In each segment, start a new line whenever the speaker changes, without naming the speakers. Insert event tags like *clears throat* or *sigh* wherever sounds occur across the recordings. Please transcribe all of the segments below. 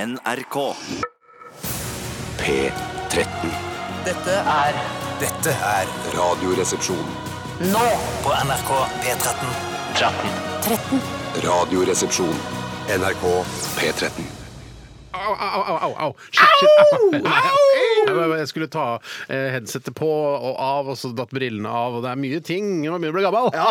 NRK.
P13.
Dette er
Dette er Radioresepsjon.
nå på NRK P13.
Radioresepsjon. NRK P13.
Au, au, au, au, au. Shit, shit. Au! Nei, nei, nei, Jeg skulle ta eh, headsetet på og av, og så datt brillene av, og det er mye ting når man begynner å bli gammel. *laughs*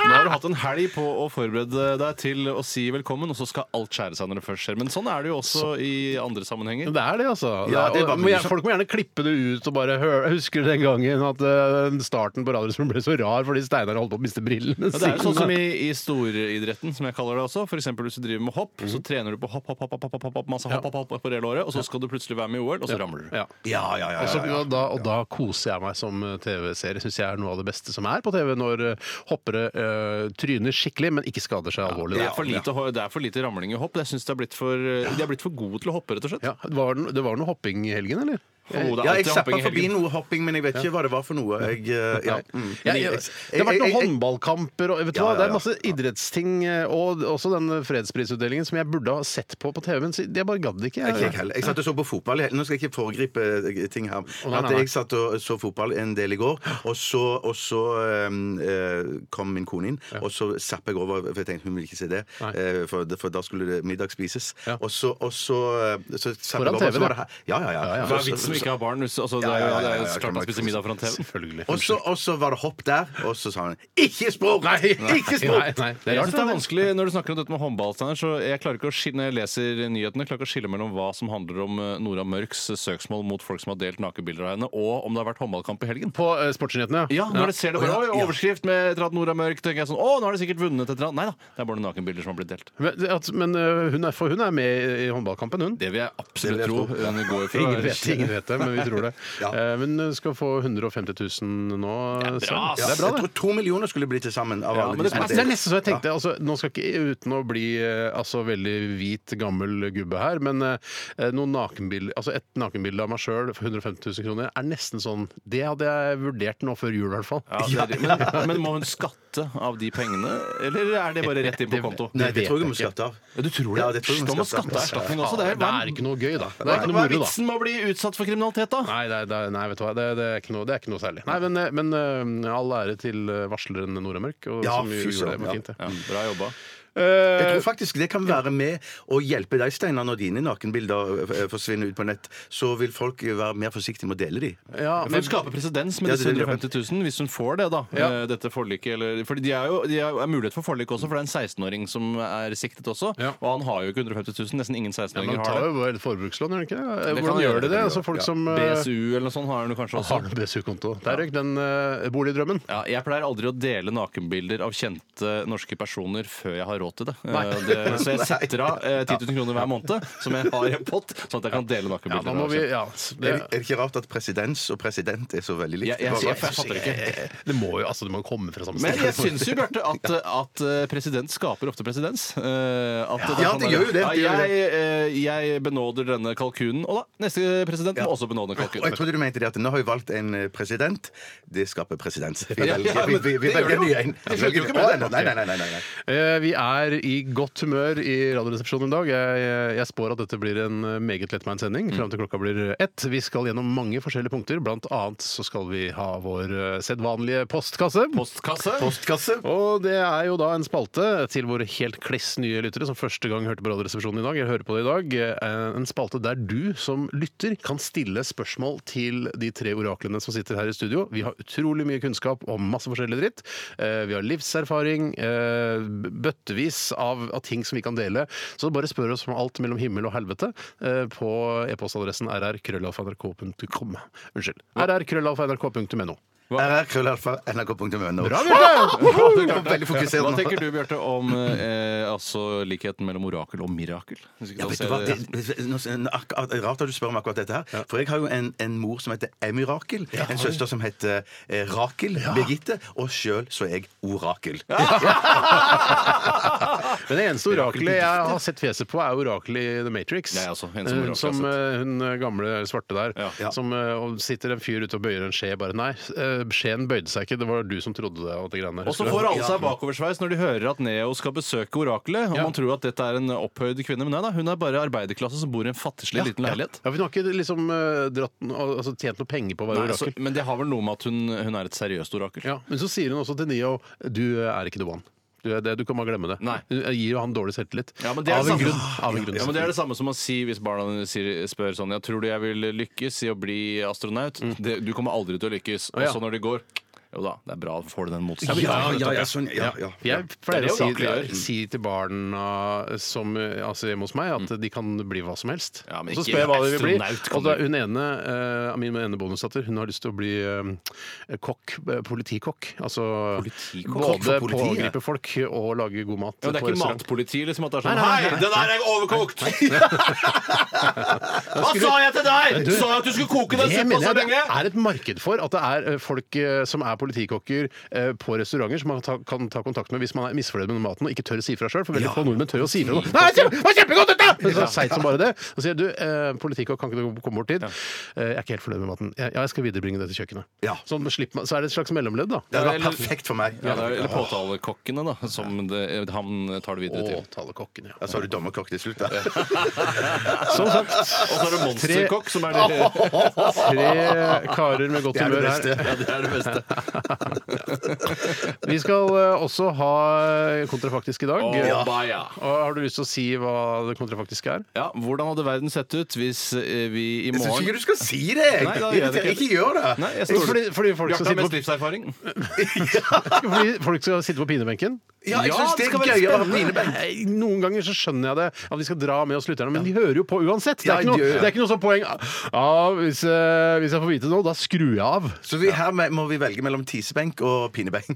Nå har du hatt en helg på å forberede deg til å si velkommen, og så skal alt skjære seg når det først skjer. Men sånn er det jo også i andre sammenhenger.
Det er det, altså.
Ja,
Det er-
det bare
og-
blir
men jeg-
så-
folk må gjerne klippe det ut og bare høre, husker den gangen at eh, starten på radioen ble så rar fordi Steinar holdt på å miste brillene
Ja, det er jo sånn som i, i storidretten, som jeg kaller det også. For eksempel hvis du driver med hopp, så trener du på hopp, hopp, hopp, hopp, hopp, hopp, hopp masse hopp, hopp, hopp på hele året, og så skal du plutselig være med i OL, og så ramler du.
Ja. Og så- og Da, og da koser jeg meg som eh, TV-serie. Syns jeg er noe av det beste som er på TV, når eh, hoppere eh, tryner skikkelig, men ikke skader seg alvorlig.
Det er, for lite, ho- det er for lite ramling i hopp. Jeg synes det er blitt for, de er blitt for gode til å hoppe, rett og slett.
Ja, det var, no- det var noe hopping i helgen, eller?
Oh, det er
Ja, jeg
alltid
zappa
hopping i
forbi
helgen.
noe hopping, men jeg vet ikke hva det var for noe. Jeg, eh, ja. mm.
Ja, ja, det har vært noen håndballkamper og vet du
Ja,
hva,
ja,
det er
ja.
masse idrettsting. eh, Og også den fredsprisutdelingen som jeg burde ha sett på på TV-en. så Jeg bare gadd ikke.
Jeg, ikke jeg, heller. jeg satt og så på fotball i helgen. Nå skal jeg ikke foregripe eh, ting her.
nei,
At
nei.
jeg satt og så fotball en del i går, og så, og så eh, eh, kom min kone inn, og så zappa jeg over, for jeg tenkte hun vil ikke se det, eh, for, det- for da skulle det middag spises.
Ja.
Og så, og så, eh, så zappa
Foran
jeg over, og
TV,
så var
da.
det her. Ja, ja, ja.
Ja, ja.
Hva er vitsen med ikke å ha barn? hvis- Altså, det er
Ja, ja, ja,
jo det
ja,
er
ja,
jo klart
kan
man
man-
spiser middag foran TV.
Selvfølgelig.
Og så- og så var det hopp der, og så sa hun 'ikke språk'!
*laughs*
ikke
Nei,
språk!
nei, det
Jeg
er
synes det er
rart.
vanskelig når du snakker om dette med håndball, Steinar, så jeg klarer ikke å skille, når jeg leser nyhetene, klarer ikke å skille mellom hva som handler om eh, Nora Mørks eh, søksmål mot folk som har delt nakenbilder av henne, og om det har vært håndballkamp i helgen.
På eh, sportsnyhetene,
Ja, når det ser det bare, Oi, overskrift med et eller annet Nora Mørk, tenker jeg sånn, å, nå har de sikkert vunnet et eller annet. Nei da, det er bare noen nakenbilder som har blitt delt.
Men, at, men eh, hun er, for hun er med i- i håndballkampen, hun.
Det vil jeg absolutt
Det vil
tro.
jeg tro.
Hun går *laughs* fra.
Ingen vet, ingen vet det, men vi tror det.
Ja.
Eh, Men hun skal få 150 000 nå.
Det er bra,
Sven.
ass.
det er bra,
Jeg
det.
tror to millioner skulle bli til sammen. Av
Ja,
alle
men
de
det-
som
Altså,
har
det er
delt.
nesten så jeg tenkte. Altså, nå skal ikke Uten å bli eh, altså, veldig hvit, gammel gubbe her, men eh, noen nakenbilder altså, et nakenbilde av meg sjøl for 150 000 kroner er nesten sånn Det hadde jeg vurdert nå før jul, i hvert fall.
Ja, det er- men, men må hun skatte av de pengene, eller er det bare rett inn på konto?
Nei, det
vet
tror
jeg
jeg hun må
ikke.
skatte av.
Ja, du tror det?
Ja, det tror jeg
Hysj, da
hun
må
skal skatte.
skatteerstatning også. altså, Det er,
det er ikke noe gøy, da. Det
Hva
er ikke
hva
noe
er
moro, da.
vitsen med å bli utsatt for kriminalitet, da?
Nei, nei, nei, nei, vet du hva. Det, det, er ikke noe, det er ikke noe særlig. Nei, Men, eh, men eh, all ære til eh, varsleren Nora Mørk. Og,
Ja,
som jo gjorde
fy
det.
søren,
det
ja.
var fint, det.
Ja, bra jobba.
Jeg
Eh,
tror faktisk det kan være med å hjelpe deg, Steinar, når dine nakenbilder eh, forsvinner ut på nett. Så vil folk være mer forsiktige med å dele de.
Ja,
For
men,
Hun skaper presedens med
Ja,
disse
det- det-
150 000, hvis hun får det, da.
Ja.
eh, Dette forliket. Eller, fordi de er jo de er, er mulighet for forlik også, for det er en 16-åring som er siktet også.
Ja.
Og han har jo ikke 150 000. Nesten ingen
men
16-åringer
han tar
har det.
jo bare et forbrukslån, gjør han ikke det? Eh,
kan
Hvordan
han
gjør
gjøre,
de
det
det?
kan
Altså, folk som eh,
BSU eller noe sånt har hun kanskje også.
har noe BSU-konto. Der røyk den eh, boligdrømmen.
Ja, jeg pleier aldri å dele nakenbilder av kjente norske personer før jeg har råd til det.
Nei.
Eh, det så jeg setter av eh, 10 000 kroner hver måned, som jeg har i en pott, sånn at jeg kan dele
Ja,
nakenbilder.
da må
av
vi,
kjente.
ja,
Er,
det,
det- er det ikke rart at presidens og president er så veldig likt?
jeg, jeg, jeg, jeg, jeg fatter det ikke.
det må jo altså, det må jo komme fra samme
Men
sted.
jeg syns jo,
*laughs*
Bjarte, at, at eh, president skaper ofte presedens. Eh, at da
Ja,
kan
det
man-
gjør jo det, det
Ja,
gjør
jeg, eh, jeg benåder denne kalkunen, og da neste president må også benåde
Og jeg
kalkunen.
trodde du mente det at nå har vi valgt en eh, president. Det skaper presedens. Vi
*laughs* Ja,
velger,
ja,
vi,
men
vi, vi
det gjør
velger
det jo.
nye en.
Det slutter jo ikke med
Nei,
det.
nei, nei, nei, nei, nei, nei.
*laughs* Eh, Vi er i godt humør i Radioresepsjonen i dag. Jeg, eh, jeg spår at dette blir en eh, meget lettmeint sending fram til klokka blir eh, ett. Vi skal gjennom mange forskjellige punkter, blant annet så skal vi ha vår eh, sedvanlige postkasse.
Postkasse.
Postkasse.
Og det er jo da en spalte til våre helt kliss nye lyttere som første gang hørte på Radioresepsjonen i dag. Jeg hører på det i dag. Eh, En spalte der du som lytter kan stille spørsmål til de tre oraklene som sitter her i studio. Vi har utrolig mye kunnskap om masse forskjellig dritt. Eh, Vi har livserfaring, eh, b- bøttevis av, av ting som vi kan dele. Så bare spør oss om alt mellom himmel og helvete eh, på e-postadressen rrkrøllalfa.nrk.com. Unnskyld. rrkrøllalfa.nrk.no.
rr.nrk.no.
Bra, Bjarte!
*laughs* Veldig fokusert
Hva
nå.
tenker du, Bjarte,
*clears throat*
om eh, altså likheten mellom orakel og mirakel? Hvis ikke
Ja,
du
vet du
ser
hva? Det,
det-
nå- nå- akkurat- rart at du spør om akkurat dette her. For jeg har jo en, en mor som heter Emirakel. en søster som heter eh, Rakel. Birgitte. Og sjøl så er jeg Orakel.
*laughs* Men det eneste orakelet jeg har sett fjeset på, er orakelet i The Matrix.
Jeg også, altså, en som
Hun
orakel jeg
som eh, hun gamle svarte der,
Ja.
som eh, og sitter en fyr ute og bøyer en skje bare Nei, eh, eh, beskjeden bøyde seg ikke. Det var du som trodde det. Og det greiene.
Og så
Husker du
får
det?
alle seg bakoversveis når de hører at Neo skal besøke oraklet. Og
Ja.
man tror at dette er en opphøyd kvinne, men nei da, hun er bare arbeiderklasse som bor i en fattigslig liten leilighet.
Ja, for Hun har ikke liksom eh, dratt, den- altså, tjent noe penger på å være
Nei, altså,
orakel.
men det har vel noe med at hun, hun er et seriøst orakel.
Ja, men så sier hun også til Neo du eh, er ikke the one. Du, er det, du kan bare glemme det.
Nei.
Hun eh, gir jo han dårlig selvtillit.
Ja, men det er
av, en
det samme.
grunn, av en grunn.
Ja, men Det er det samme som å si hvis barna dine sier- spør sånn Ja, tror du jeg vil lykkes i å bli astronaut? Det, du kommer aldri til å lykkes.
ja.
Og så når det går Jo da, det er bra, får du den motstanden.
Ja, ja, ja, sånn, ja, ja.
Jeg
Det
pleier
er det
å si,
oraklet gjør.
si til barna som, eh, altså hjemme hos meg at de kan bli hva som helst.
Mm. Ja, men
og så
ikke
spør jeg hva de vil bli.
astronaut kan
Og da,
du-
hun ene, eh, min ene bonusdatter hun har lyst til å bli eh, kokk, eh, politikokk. Altså
Politikokk? Kokk
både
for politiet?
pågripe folk og lage god mat.
Ja, men det
på
er ikke
restaurant.
matpoliti liksom at det er sånn
Nei, nei, nei,
Hei, det der er overkokt! Hva sa jeg til deg?!
Du-
Sa jeg at du skulle koke den
Det
suppa
mener
så
jeg det
lenge?!
er et marked for at det er eh, folk eh, som er politikokker eh, på restauranter som man ta, kan ta kontakt med hvis man er misfornøyd med maten og ikke tør å si fra sjøl. For veldig få nordmenn tør å si fra. Nei, det var kjempegodt dette! Men så seigt som bare det. Så sier jeg, du, eh, politikokk, kan ikke du komme bort dit? Eh, jeg er ikke helt fornøyd med maten. Ja, jeg skal viderebringe det til kjøkkenet.
Ja.
Sånn, slipper man, så er det et slags mellomledd, da.
Det var perfekt for meg.
Ja, det er, eller påtalekokkene, da, som det, han tar det videre til.
Å, talekokken, ja.
Ja, så har du dommerkokk til slutt, da.
Som sagt,
Og så er det monsterkokk, som er det
tre karer med godt
Det er det
humør her.
beste.
Ja, det er det beste.
Vi skal eh, også ha kontrafaktisk i dag.
Å,
Eh,
baja.
Og Har du lyst til å si hva det kontrafaktiske er?
Ja, Hvordan hadde verden sett ut hvis eh, vi i
Jeg syns ikke
morgen
du skal si det!
Nei, da gjør jeg det
Irriter-
ikke.
Ikke gjør det!
Nei, jeg stoler
Fordi, fordi, folk
Bjarte har
skal sitte
mest
på,
livserfaring.
*laughs* fordi folk skal sitte på pinebenken?
Ja, jeg syns
det
det
skal
er
være
gøyere å ha
spennende.
pinebenk.
Nei, Noen ganger så skjønner jeg det, at de skal dra med oss lytterne, men de hører jo på uansett. Det
Ja,
er ikke noe,
de gjør det.
det er ikke noe sånn poeng ja, hvis, eh, hvis jeg får vite noe, da skrur jeg av.
Så vi, her me- må vi velge mellom tisebenk og pinebenk.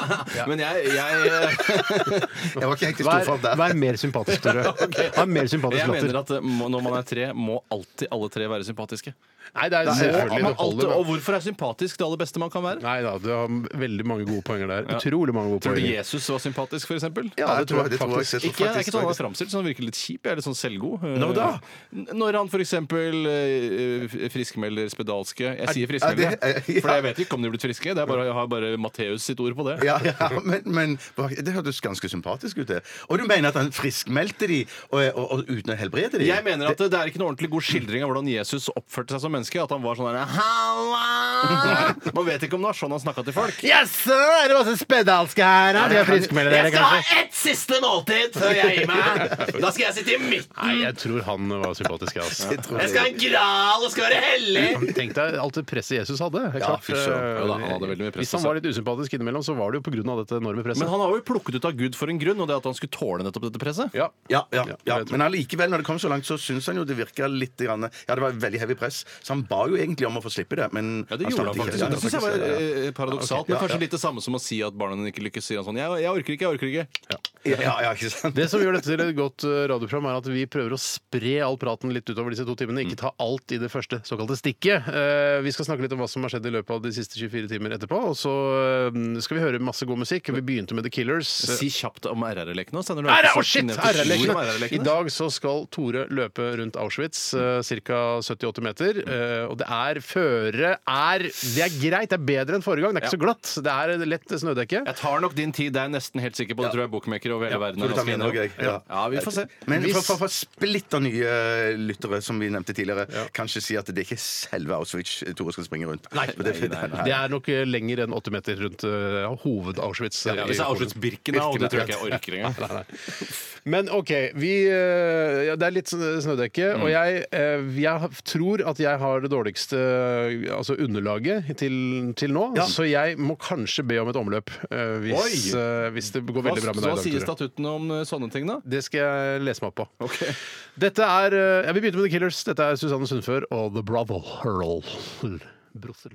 *laughs*
Men jeg, jeg,
Jeg var ikke helt i
Vær,
storform der.
vær mer sympatisk, Tore. Vær mer sympatisk
jeg
latter.
mener at eh, må, når man er tre, må alltid alle tre være sympatiske.
Nei, det er
Og,
selvfølgelig det
men alltid,
holder.
og hvorfor er sympatisk det aller beste man kan være?
Nei da, du har veldig mange gode poenger der. Utrolig mange gode
Tror du
poenger.
Jesus var sympatisk, f.eks.?
Ja, det tror jeg- det tror jeg-
faktisk.
jeg tror
Ikke, det er
faktisk-
ikke sånn han er framstilt, så han virker litt kjip. Jeg er litt sånn selvgod. Eh,
Nå da?
n- Når han f.eks. eh, friskmelder spedalske Jeg sier
*laughs*
friskmelder,
er det- eh, ja.
for jeg vet ikke om de er blitt friske. Det er bare, jeg har bare Matteus sitt ord på det.
Ja, ja, men, men det hørtes ganske sympatisk ut, det. Og du mener at han friskmeldte de og, og, og uten å helbrede de?
Jeg mener at det, det er ikke noe ordentlig god skildring av hvordan Jesus oppførte seg som menneske. At han var sånn der «Halla!» Man vet ikke om det var sånn han snakka til folk.
Jaså, er det masse spedalske her? Ja, de er friskmelder dere, kanskje?
ett siste måltid før jeg gir meg! Da skal jeg sitte i midten!
Nei, jeg tror han var sympatisk, jeg. Altså.
Jeg tror det.
ha en gral og skal være hellig!
Tenk deg alt det presset Jesus hadde. Det er
Ja,
klart,
fy søren.
eh,
Ja da, han hadde veldig mye press, altså.
Hvis han var litt usympatisk innimellom, så var det jo pga. dette enorme presset.
Men han har jo plukket ut av Gud for en grunn, og det er at han skulle tåle nettopp dette presset.
ja.
Ja,
Ja,
ja, ja.
jeg tror-
Men allikevel, når det kom så langt, så syns han jo det virka litt grann, Ja, det var veldig heavy press, så han ba jo egentlig om å få slippe det, men
Ja, det gjorde han
slapp
faktisk.
ikke.
Det syns jeg var eh, paradoksalt, men
Ja,
kanskje litt det samme som å si at barna dine ikke lykkes. Sier han sånn jeg, 'Jeg orker ikke, jeg orker ikke'.
Ja, ja, ja, ikke sant?
Det som gjør dette til et godt eh, radioprogram, er at vi prøver å spre all praten litt utover disse to timene.
Mm.
Ikke ta alt i det første såkalte stikket. Eh, Vi skal snakke litt om hva som har skjedd i løpet av de siste 24 timer etterpå. Og så eh, skal vi høre masse god musikk. Vi begynte med The Killers.
Si kjapt om RR-leken nå. sender du
Ære,
en
å, shit!
ned til Sjur om
RR-lekene. I
RR-lekene.
dag så skal Tore løpe rundt Auschwitz, eh, ca. 70-80 meter. eh, Og det er føre er Det er greit, det er bedre enn forrige gang. Det er ikke så glatt. Det er lett snødekke.
Jeg tar nok din tid, det er jeg nesten helt sikker på. Det tror jeg bokmakere over hele verden
Tror du tar
ganske
min
enige om.
også, jeg? Ja.
Ja, vi får se.
Men
Hvis-
for, for, for splitter nye eh, lyttere, som vi nevnte tidligere, kanskje si at det er ikke selve Auschwitz eh, Tore skal springe rundt. Nei, det,
nei, nei, nei.
Det er nok eh, lenger enn 80 meter rundt eh, hoved-Auschwitz. eh,
Ja, hvis det er Auschwitz-Birkenau, det tror jeg ikke jeg orker engang.
Men OK, vi, eh, ja, det er litt snø- snødekke.
Mm.
Og jeg, eh, jeg har- tror at jeg har det dårligste eh, altså underlaget til, til nå. Så jeg må kanskje be om et omløp eh, hvis,
Oi!
eh, hvis det går
Hva,
veldig bra med
hva
deg. i
sier
dag, Tore.
statuttene om eh, sånne ting, da?
Det skal jeg lese meg opp på. Dette er, eh, Jeg vil begynne med The Killers. Dette er Susanne Sundfør og The Brother Hurl. Brussel.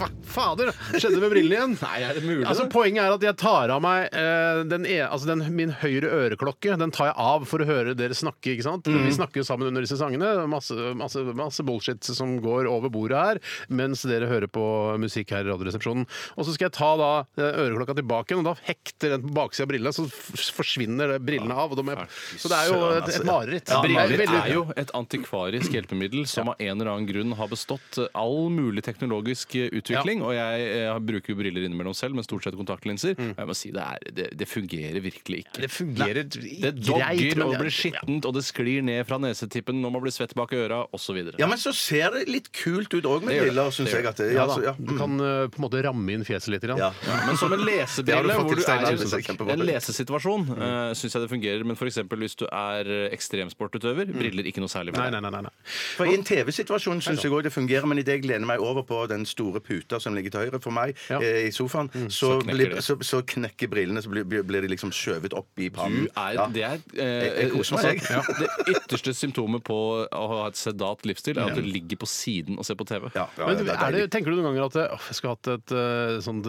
Hva fader? Skjedde med brillene igjen?
Nei, er det mulig?
Altså, poenget er at jeg tar av meg eh, den e altså den, min høyre øreklokke. Den tar jeg av for å høre dere snakke. ikke sant?
Mhm.
Vi snakker jo sammen under disse sangene. Masse, masse, masse bullshit som går over bordet her, mens dere hører på musikk her i Radioresepsjonen. Og så skal jeg ta da eh, øreklokka tilbake, igjen, og da hekter den på baksida av brillene. Så f- forsvinner det brillene av. Og da må jeg, så det er jo
søren,
et,
altså.
et mareritt.
Ja,
Briller-
Briller
veldig-
er jo et antikvarisk hjelpemiddel som av en eller annen grunn har bestått eh, all mulig teknologisk utvikling. Og jeg, eh, bruker jo briller innimellom selv, men stort sett kontaktlinser.
Mm.
Og jeg må si det, er, det, det fungerer virkelig ikke.
Det fungerer
Det
greit,
dogger
men
og
det-
blir skittent, og det sklir ned fra nesetippen når man blir svett bak i øra, osv.
Ja, men så ser det litt kult ut òg med
Det gjør det.
briller, syns
Det gjør
jeg. at det,
Ja
ja,
da.
så- ja. Mm.
Du kan eh, på en måte ramme inn fjeset litt.
Ja.
Grann.
Men som en lesebrille
*laughs* Det har du
hvor du
faktisk, Steinar.
er
Det er Mm.
i
kjempebra.
en lesesituasjon, uh, syns jeg det fungerer. Men f.eks. hvis du er eh,
Mm.
ekstremsportutøver, briller ikke noe særlig for
Nei,
deg.
nei, nei, nei, nei.
For I en TV-situasjon syns jeg òg det fungerer, men idet jeg lener meg over på den store puta som ligger til høyre for meg
Ja.
eh, i sofaen, så,
knekker
blir,
det.
så, så knekker brillene, så blir, blir- blir de liksom skjøvet opp i
Du
pannen.
er,
Ja.
det er
Jeg- jeg koser meg, jeg.
ja, Det ytterste symptomet på å ha et sedat livsstil er at du ligger på siden og ser på TV.
Ja, ja,
Men
det er
er det,
deilig.
tenker du noen ganger at eh, åh, jeg skulle hatt et eh, sånt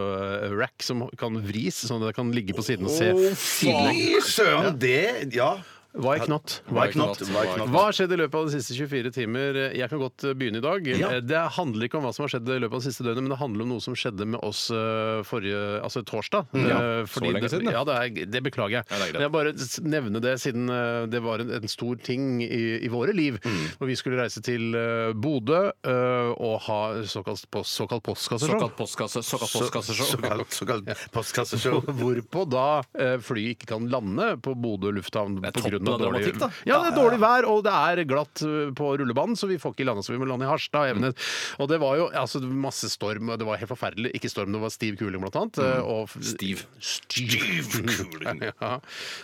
TV-rack som kan vris, sånn at jeg kan ligge på siden og se sidelengs?
Fy søren, det Ja.
Why not?
Why not? Why not?
Hva har skjedd i løpet av de siste 24 timer? Jeg kan godt eh, begynne i dag.
Ja.
Eh, Det handler ikke om hva som har skjedd i løpet av det siste døgnet, men det handler om noe som skjedde med oss eh, forrige, altså torsdag. Eh,
Mm. så lenge
det,
siden, da.
Ja, det, er, det beklager jeg.
Ja, det er greit.
Men jeg bare s- nevner det siden eh, det var en, en stor ting i, i våre liv.
Mm.
Og vi skulle reise til eh, Bodø eh, og ha såkalt, post, såkalt postkasseshow.
Såkalt postkasse, såkalt
Så-
postkasseshow.
Såkalt, såkalt
*laughs*
postkasseshow.
*laughs* Hvorpå da eh, flyet ikke kan lande på Bodø lufthavn
Det er
på grunn
toppen av
dårlig-
dramatikk, da.
Ja, det er dårlig vær, og det er glatt eh, på rullebanen, så vi får ikke landa, så vi må lande i Harstad
Mm.
og Evenes. Og det var jo altså, masse storm, og det var helt forferdelig. Ikke storm, det var stiv kuling, blant annet. eh, Og
Mm. Stiv.
kuling! *laughs* ja,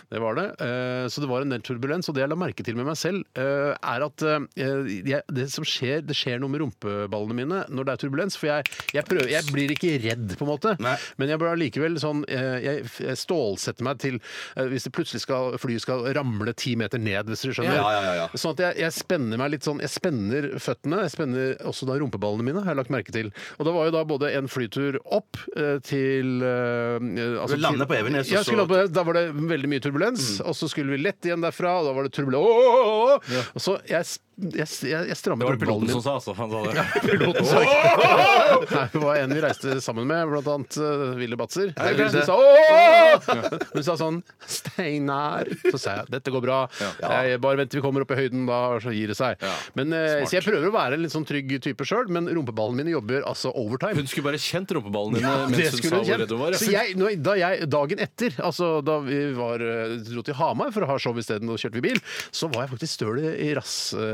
det var det. Eh, Så det var en del turbulens, og det jeg la merke til med meg selv, eh, er at eh, jeg, det som skjer, det skjer noe med rumpeballene mine når det er turbulens, for jeg, jeg, prøver, jeg blir ikke redd, på en måte.
Nei.
Men jeg blir allikevel sånn eh, Jeg jeg stålsetter meg til eh, hvis det plutselig skal, flyet skal ramle ti meter ned, hvis du skjønner.
Ja, ja, ja, ja.
Sånn at jeg, jeg spenner meg litt sånn Jeg spenner føttene, jeg spenner også da rumpeballene mine, har jeg lagt merke til. Og det var jo da både en flytur opp eh, til eh, altså,
Du lander
til-
på Evenes, og
Ja, skulle
så- Mm.
lande på Evenes. Da var det veldig mye turbulens. Og så skulle vi lett igjen derfra, og da var det turbulens Åh, åh, åh, åh! Og så jeg, jeg, jeg, jeg
Det
strammer
var det piloten
rumpeballene mine.
som sa, altså. Han sa det.
Piloten sa ikke *laughs* Nei, det var en vi reiste sammen med, blant annet eh, Vilde Batzer. Hun sa ååå! Hun sa sånn Steinar. Så sa jeg dette går bra. Jeg bare venter vi kommer opp i høyden, da og så gir det seg.
Ja.
Men, eh,
Smart.
så jeg prøver å være en litt sånn trygg type sjøl, men rumpeballene mine jobber altså overtime.
Hun skulle bare kjent rumpeballene dine
Det
eh, mens hun sa
skulle du
hvor
kjent.
redd hun var.
Så jeg, når- da jeg, dagen etter, altså da vi var, eh, dro til Hamar for å ha show isteden og kjørte vi bil, så var jeg faktisk støl i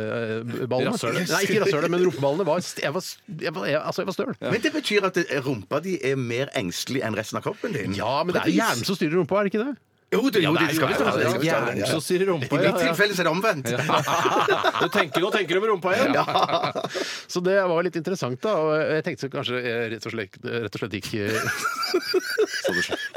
rassballene.
Rasshølet.
Nei, ikke rasshølet, men rumpeballene. Var, st- jeg, var, s- jeg, var, jeg, altså, jeg var støl.
Men det betyr at eh, rumpa di er mer engstelig enn resten av kroppen din?
Ja, men det er
Precis.
hjernen som styrer rumpa, er det ikke det?
Jo, det, jo,
det
det,
er
skal
jo
være det,
det.
skal være det.
Hjernen som styrer rumpa.
I
ja,
mitt
ja.
tilfelle så er det omvendt.
Du tenker, nå tenker du med rumpa igjen!
Så det var litt interessant, da. Og jeg tenkte kanskje jeg rett og slett, rett og slett gikk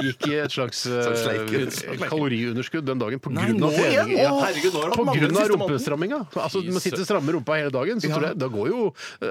Gikk i et slags eh, kaloriunderskudd den dagen på
Nei,
grunn
nå
av
igjen?
trening. Ja.
Å, herregud, nå har du hatt
På
mange
grunn
den
av
siste måneden.
rumpestramminga. Altså, du må
Jesus.
sitte og stramme rumpa hele dagen, så tror jeg da går jo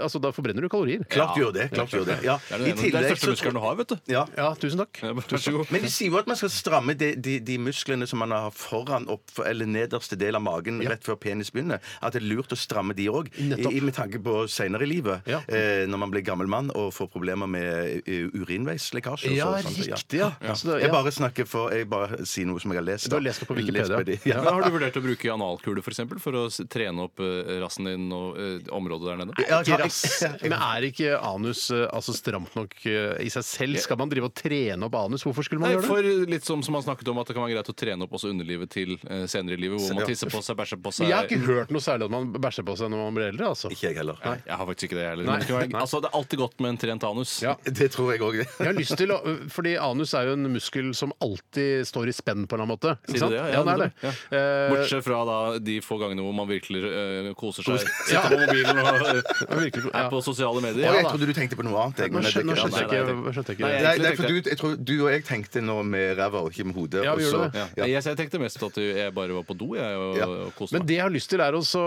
Altså, da forbrenner du kalorier.
Klart gjør det. klart gjør det. Ja.
Det er den ene- det
I
er den
tillegg
største
så
muskelen du har, vet du.
ja.
Ja, tusen takk.
Vær så god.
Men de sier jo at man skal stramme de, de, de musklene som man har foran opp, for- eller nederste del av magen rett før penis begynner. At det er lurt å stramme de òg,
Nettopp.
med tanke på seinere i livet.
Ja.
Eh, når man blir gammel mann og får problemer med eh, urinveislekkasje. og
Ja,
så- sånt,
riktig, ja. Altså, det-
Jeg
ja.
bare snakker for Jeg bare sier noe som jeg har lest.
Du har
da.
lest det på Wikipedia.
Lest på de-
Men
ja.
Har du vurdert å bruke analkule for, eksempel, for å s- trene opp eh, rassen din og eh, området der nede?
Ja,
Ikke
ja,
*laughs*
rass.
jeg-
Men er ikke anus eh, altså, stramt nok eh, i seg selv? Skal man drive og trene opp anus? Hvorfor skulle man
Nei,
gjøre det?
for litt som, som han snakket om, at det kan være greit å trene opp også underlivet til eh, senere i livet, hvor man tisser på seg, bæsjer på seg
Jeg har ikke hørt noe særlig at man bæsjer på seg når man blir eldre. altså.
Ikke jeg heller.
Jeg har faktisk ikke det, jeg heller.
Nei.
Men det, skal være-
Nei.
altså, det er alltid godt med en trent anus.
Ja.
Det tror jeg òg.
Jeg har lyst til å, fordi Anus er jo en muskel som alltid står i spenn på en eller annen måte. Ikke
Sier
sant?
du det?
Ja, det er det.
Ja.
Eh,
Bortsett fra da de få gangene hvor man virkelig eh, koser seg.
*laughs* Ja.
Sitter på mobilen og eh,
virkelig- *laughs* ja.
er på sosiale
*laughs*
medier.
Jeg
Ja, da.
trodde du tenkte på noe annet. jeg,
Nå
men det er
skjønner,
ikke-
nå skjønte
nei,
jeg
nei,
ikke, skjønte jeg
Nei,
ikke det.
Nei,
Egentlig
nei, for
tenkte
du, jeg tror, du og jeg tenkte nå med ræva og ikke med hodet.
Ja, vi
og
gjør du det?
Ja. Jeg, jeg tenkte mest at jeg bare var på do jeg, og,
Ja.
og koste
Men
meg.
det jeg har lyst til, er også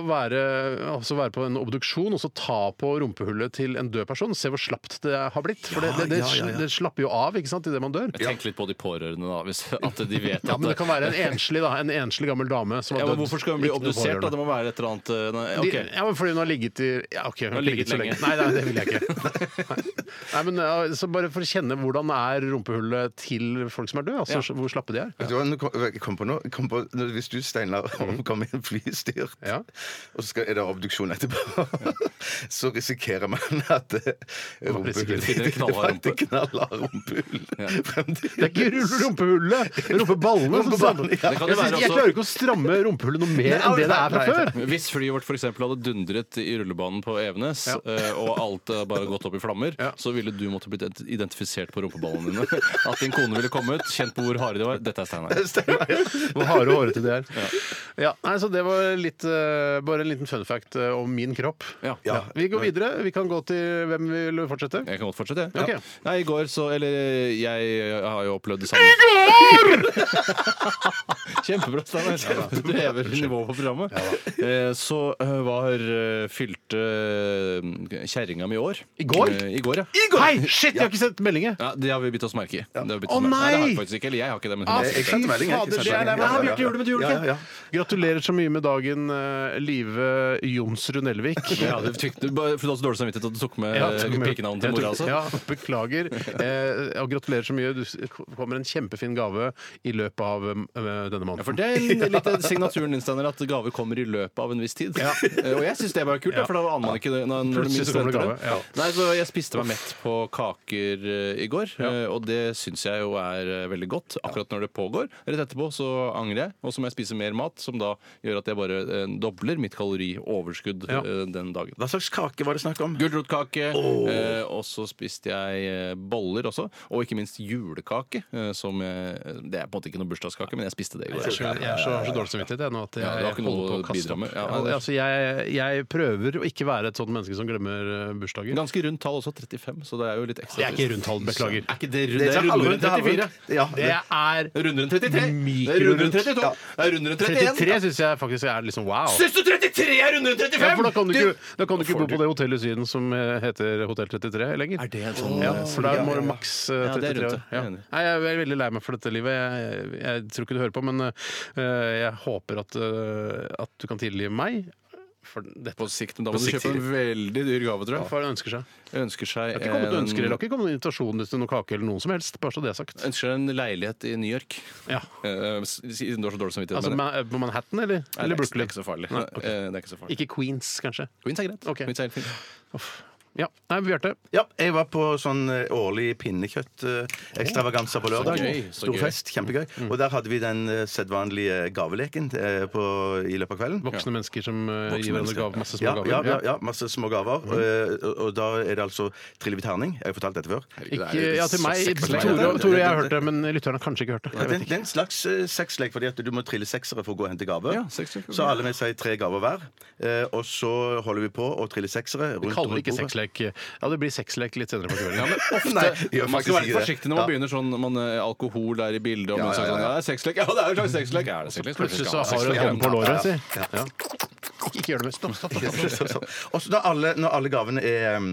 å være, altså være på en obduksjon og så ta på rumpehullet til en død person. Se hvor slapt det har blitt. For det, det, det,
ja, ja, ja.
det slapper jo av ikke sant, idet man dør.
Tenk litt på de pårørende, da. Hvis, at de vet at
Ja, men det kan være en enslig, da, en enslig gammel dame som har
ja,
dødd.
men Hvorfor skal hun bli
Ikke noe
obdusert? da?
pårørende.
Det må være et eller annet eh, nei,
De-
ok.
Ja, men fordi hun har ligget i ja, ok, hun har ikke ligget så lenge.
ligget
Nei, nei, det vil jeg ikke. *laughs* Nei. Nei, men ja, så Bare for å kjenne hvordan er rumpehullet til folk som er døde. Altså, Hvor slappe de er.
Vet du hva, nå kom- jeg kom på noe. Jeg Kom på, nå- hvis du, Steinar, kommer i en flystyrt,
Ja.
og så skal, er det obduksjon etterpå, *laughs* så risikerer man at eh,
risikerer
rumpehullet
å finne
*laughs*
en knallhard rumpe.
Det knallhard rumpehull. Fremdeles.
Det er ikke rull- *laughs* rumpehullet! Rumpeballene! som strammer.
Rumpeballene, ja.
Det kan jo
Jeg, synes,
være
jeg
også-
klarer ikke å stramme rumpehullet noe mer enn det det er fra
nei,
før!
Hvis flyet vårt for eksempel hadde dundret i rullebanen på Evenes, eh, og alt eh, bare gått opp i flammer,
Ja.
så ville du måtte blitt ident- identifisert på rumpeballene dine. *laughs* At din kone ville kommet, kjent på hvor harde de var. Dette er Steinar.
Steinar, ja.
Hvor harde og hårete de er. Ja. nei, så det var litt, eh, bare en liten fun fact eh, om min kropp.
Ja.
Ja, Vi går videre. Vi kan gå til hvem vil fortsette.
Jeg kan godt fortsette, jeg.
Ok.
Ja. Nei, i går så Eller eh, jeg har jo opplevd det samme. I går! *laughs* Kjempebra, Steinar. Du hever nivået på programmet. Eh, Så eh, var eh, fylte eh, kjerringa mi år.
I går?
Eh, I går, ja.
Hei, shit, jeg har ikke sett meldingen!
Ja, Det har vi bitt oss merke i. Det har vi bitt
Å,
oss merke i.
nei!
det har vi faktisk ikke. Eller jeg har ikke det, men hun
Ah,
har
fy
sikkert det.
sendte melding, jeg har
fader,
ikke
det
sendt
er lei meg.
melding. Ja,
Ja,
ja,
Bjarte gjorde det, men du gjorde
ja,
ikke
ja, ja.
Gratulerer så mye med dagen, eh, Live Jonsrud Nelvik.
*laughs* Ja, du fikk du bare- for du hadde så dårlig samvittighet at du tok med
Ja,
eh,
takk for meg.
pikenavnet til
Jeg
mora.
tok-
Altså.
Ja, beklager. Eh, og gratulerer så mye. Du s- kommer en kjempefin gave i løpet av eh, denne måneden.
Ja, for det er
*laughs*
en- litt av signaturen din, Steinar, at gaver kommer i løpet av en viss tid. Eh, Og jeg syns det var kult, da, for da aner man ikke det. Når, når du
Plutselig
minst
så kommer det
venter det.
gave, ja.
Nei, så jeg spiste meg mett på kaker eh, i går, eh, og det syns jeg jo er eh, veldig godt akkurat når det pågår. Rett etterpå så angrer jeg, og så må jeg spise mer mat, som da gjør at jeg bare eh, dobler mitt kalorioverskudd
Ja.
eh, den dagen.
Hva slags kake var det snakk om?
Gulrotkake. Eh, og så spiste jeg eh, boller også. Og ikke minst julekake. Eh, som eh, Det er på en måte ikke noe bursdagskake, men jeg spiste det i går.
Jeg skjønner- jeg er så, så dårlig samvittighet jeg, nå at jeg,
Ja, du har ikke noe
holder på å
å
kaste
bidra
opp.
med. Ja,
Ja,
det er-
altså, jeg, jeg prøver å ikke være et sånt menneske som glemmer eh, bursdager.
Ganske rundt tall også, 35, så det er jo litt ekstra.
Det er ikke
trist.
rundt tall, beklager.
Er ikke det, rundt-
Det
det
er
er rundere enn
halvrundt, det er
34.
halvrundt. Ja,
Det er
Rundere enn 33. Det er rundere enn
Mikrorundt.
32.
Ja.
Det er rundere enn 31.
33 syns jeg faktisk er liksom wow.
Syns du 33 er rundere enn 35?!
Ja, for da kan du ikke, da kan du ikke bo på det hotellet i Syden som eh, heter Hotell 33 lenger.
Er det en sånn
Ja, for der må du maks eh,
Ja, det er
33
rundt
år.
det.
Ja.
Jeg er enig.
Nei, jeg er veldig lei meg for dette livet. Jeg, jeg tror ikke du hører på, men eh, jeg håper at, eh, at du kan tilgi meg for dette.
På sikt, men da må du
sikt,
kjøpe en veldig dyr gave, tror jeg.
Hva han ønsker seg.
Jeg ønsker seg
Det har ikke kommet noen
en-
ønsker eller det har ikke kommet noen invitasjon til noen kake eller noen som helst. Bare så det er sagt.
ønsker seg en leilighet i New York.
Ja.
Eh, Siden du har så dårlig samvittighet.
Altså
med det.
Ma- på Manhattan eller,
Nei, det
eller
er ikke- Det
Brooklyn?
er ikke så farlig.
Nei, ok.
Eh, Det er ikke så farlig.
Ikke Queens, kanskje.
Queens er greit.
Ok.
Queens er helt fint.
Ja. Nei, Bjarte.
Ja, jeg var på sånn eh, årlig pinnekjøtt-ekstravaganser på lørdag.
gøy, så
Stor
gøy.
fest, kjempegøy. Og der hadde vi den eh, sedvanlige gaveleken eh, på, i løpet av kvelden.
Voksne mennesker som eh,
Voksne
gir hverandre
mennesker.
gaver. Masse små
Ja,
gaver. Mm.
ja, ja, ja, masse små gaver. Eh, og- og da er det altså triller vi terning. Jeg har fortalt dette før.
Ikke, ja, til meg.
Så sexy.
Tore, Tore og jeg har hørt det, men lytterne har kanskje ikke hørt det.
Ja,
Jeg
det, er-
vet
det er en slags eh, sexlek, fordi at du må trille seksere for å gå og hente gave.
Ja, seks stykker.
så alle med seg tre gaver hver. Eh, og så holder vi på å trille seksere. Rundt,
Vi kaller det
rundt
ikke
bordet.
sexlek. Ja, det blir sexlek litt senere på kvelden.
Ofte,
*laughs* Nei,
man skal være
gjør faktisk
litt
ikke det.
forsiktig når man
Ja.
begynner sånn man, eh, Alkohol er i bildet, og man
ja,
sier sånn
ja.
Ja, det er sexlek. Ja, det er jo en slags sexlek. Ja, er det sexlek?
Plutselig så har du en hånd på låret, si. Ja. Ikke gjør det mer. Stopp, stopp, stopp.
Så- så- *laughs* Og så når alle, når alle gavene er um,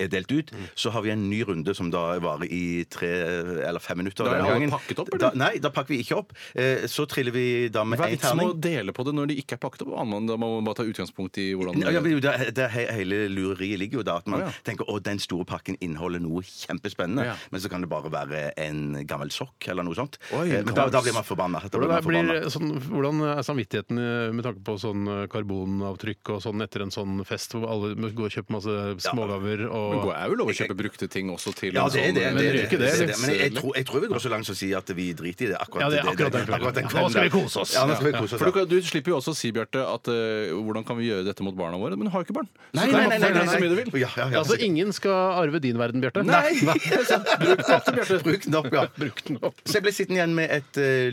er delt ut,
Mm.
så har vi en ny runde som da varer i tre eh, eller fem minutter.
Da er
denne
alle
gangen.
pakket opp, eller?
Da, nei, da pakker vi ikke opp. Eh, Så triller vi da med
Hva er
én
vitsen med å
terning.
dele på det når de ikke er pakket opp? Annet enn Da må man bare ta utgangspunkt i hvordan
Ja, ja, men jo, det, er- det er he- hele lureriet ligger jo da at man
Å, ja.
tenker å, den store pakken inneholder noe kjempespennende,
Ja.
men så kan det bare være en gammel sokk eller noe sånt.
Oi,
Eh, men da,
gammel
da blir man forbanna. Da blir man
Hvordan,
forbanna.
blir, sånn, hvordan er samvittigheten eh, med tanke på sånn eh, karbonavtrykk og sånn etter en sånn fest hvor alle går og kjøper masse smågaver
Men
og
går jeg jo lov å kjøpe brukte ting også til sånn,
Ja, det er det. det,
men
er
sånn det er ikke det,
Men jeg, jeg, tror, jeg tror vi går så langt som å si at vi driter i det akkurat,
Ja, det er akkurat den kvelden. Nå skal vi kose oss.
Ja, nå skal vi kose oss.
For du,
ja.
kan- du slipper jo også å si, Bjarte, at eh, hvordan kan vi gjøre dette mot barna våre? Men har jo ikke barn. Så
Nei,
kan
nei,
man
nei,
få
nei, nei,
det så mye du vil.
Ja, ja, ja.
Altså, ingen skal arve din verden, Bjarte.
*laughs* Bruk den opp, Bruk den opp, ja.
Bruk den opp.
Så jeg ble sittende igjen med et eh,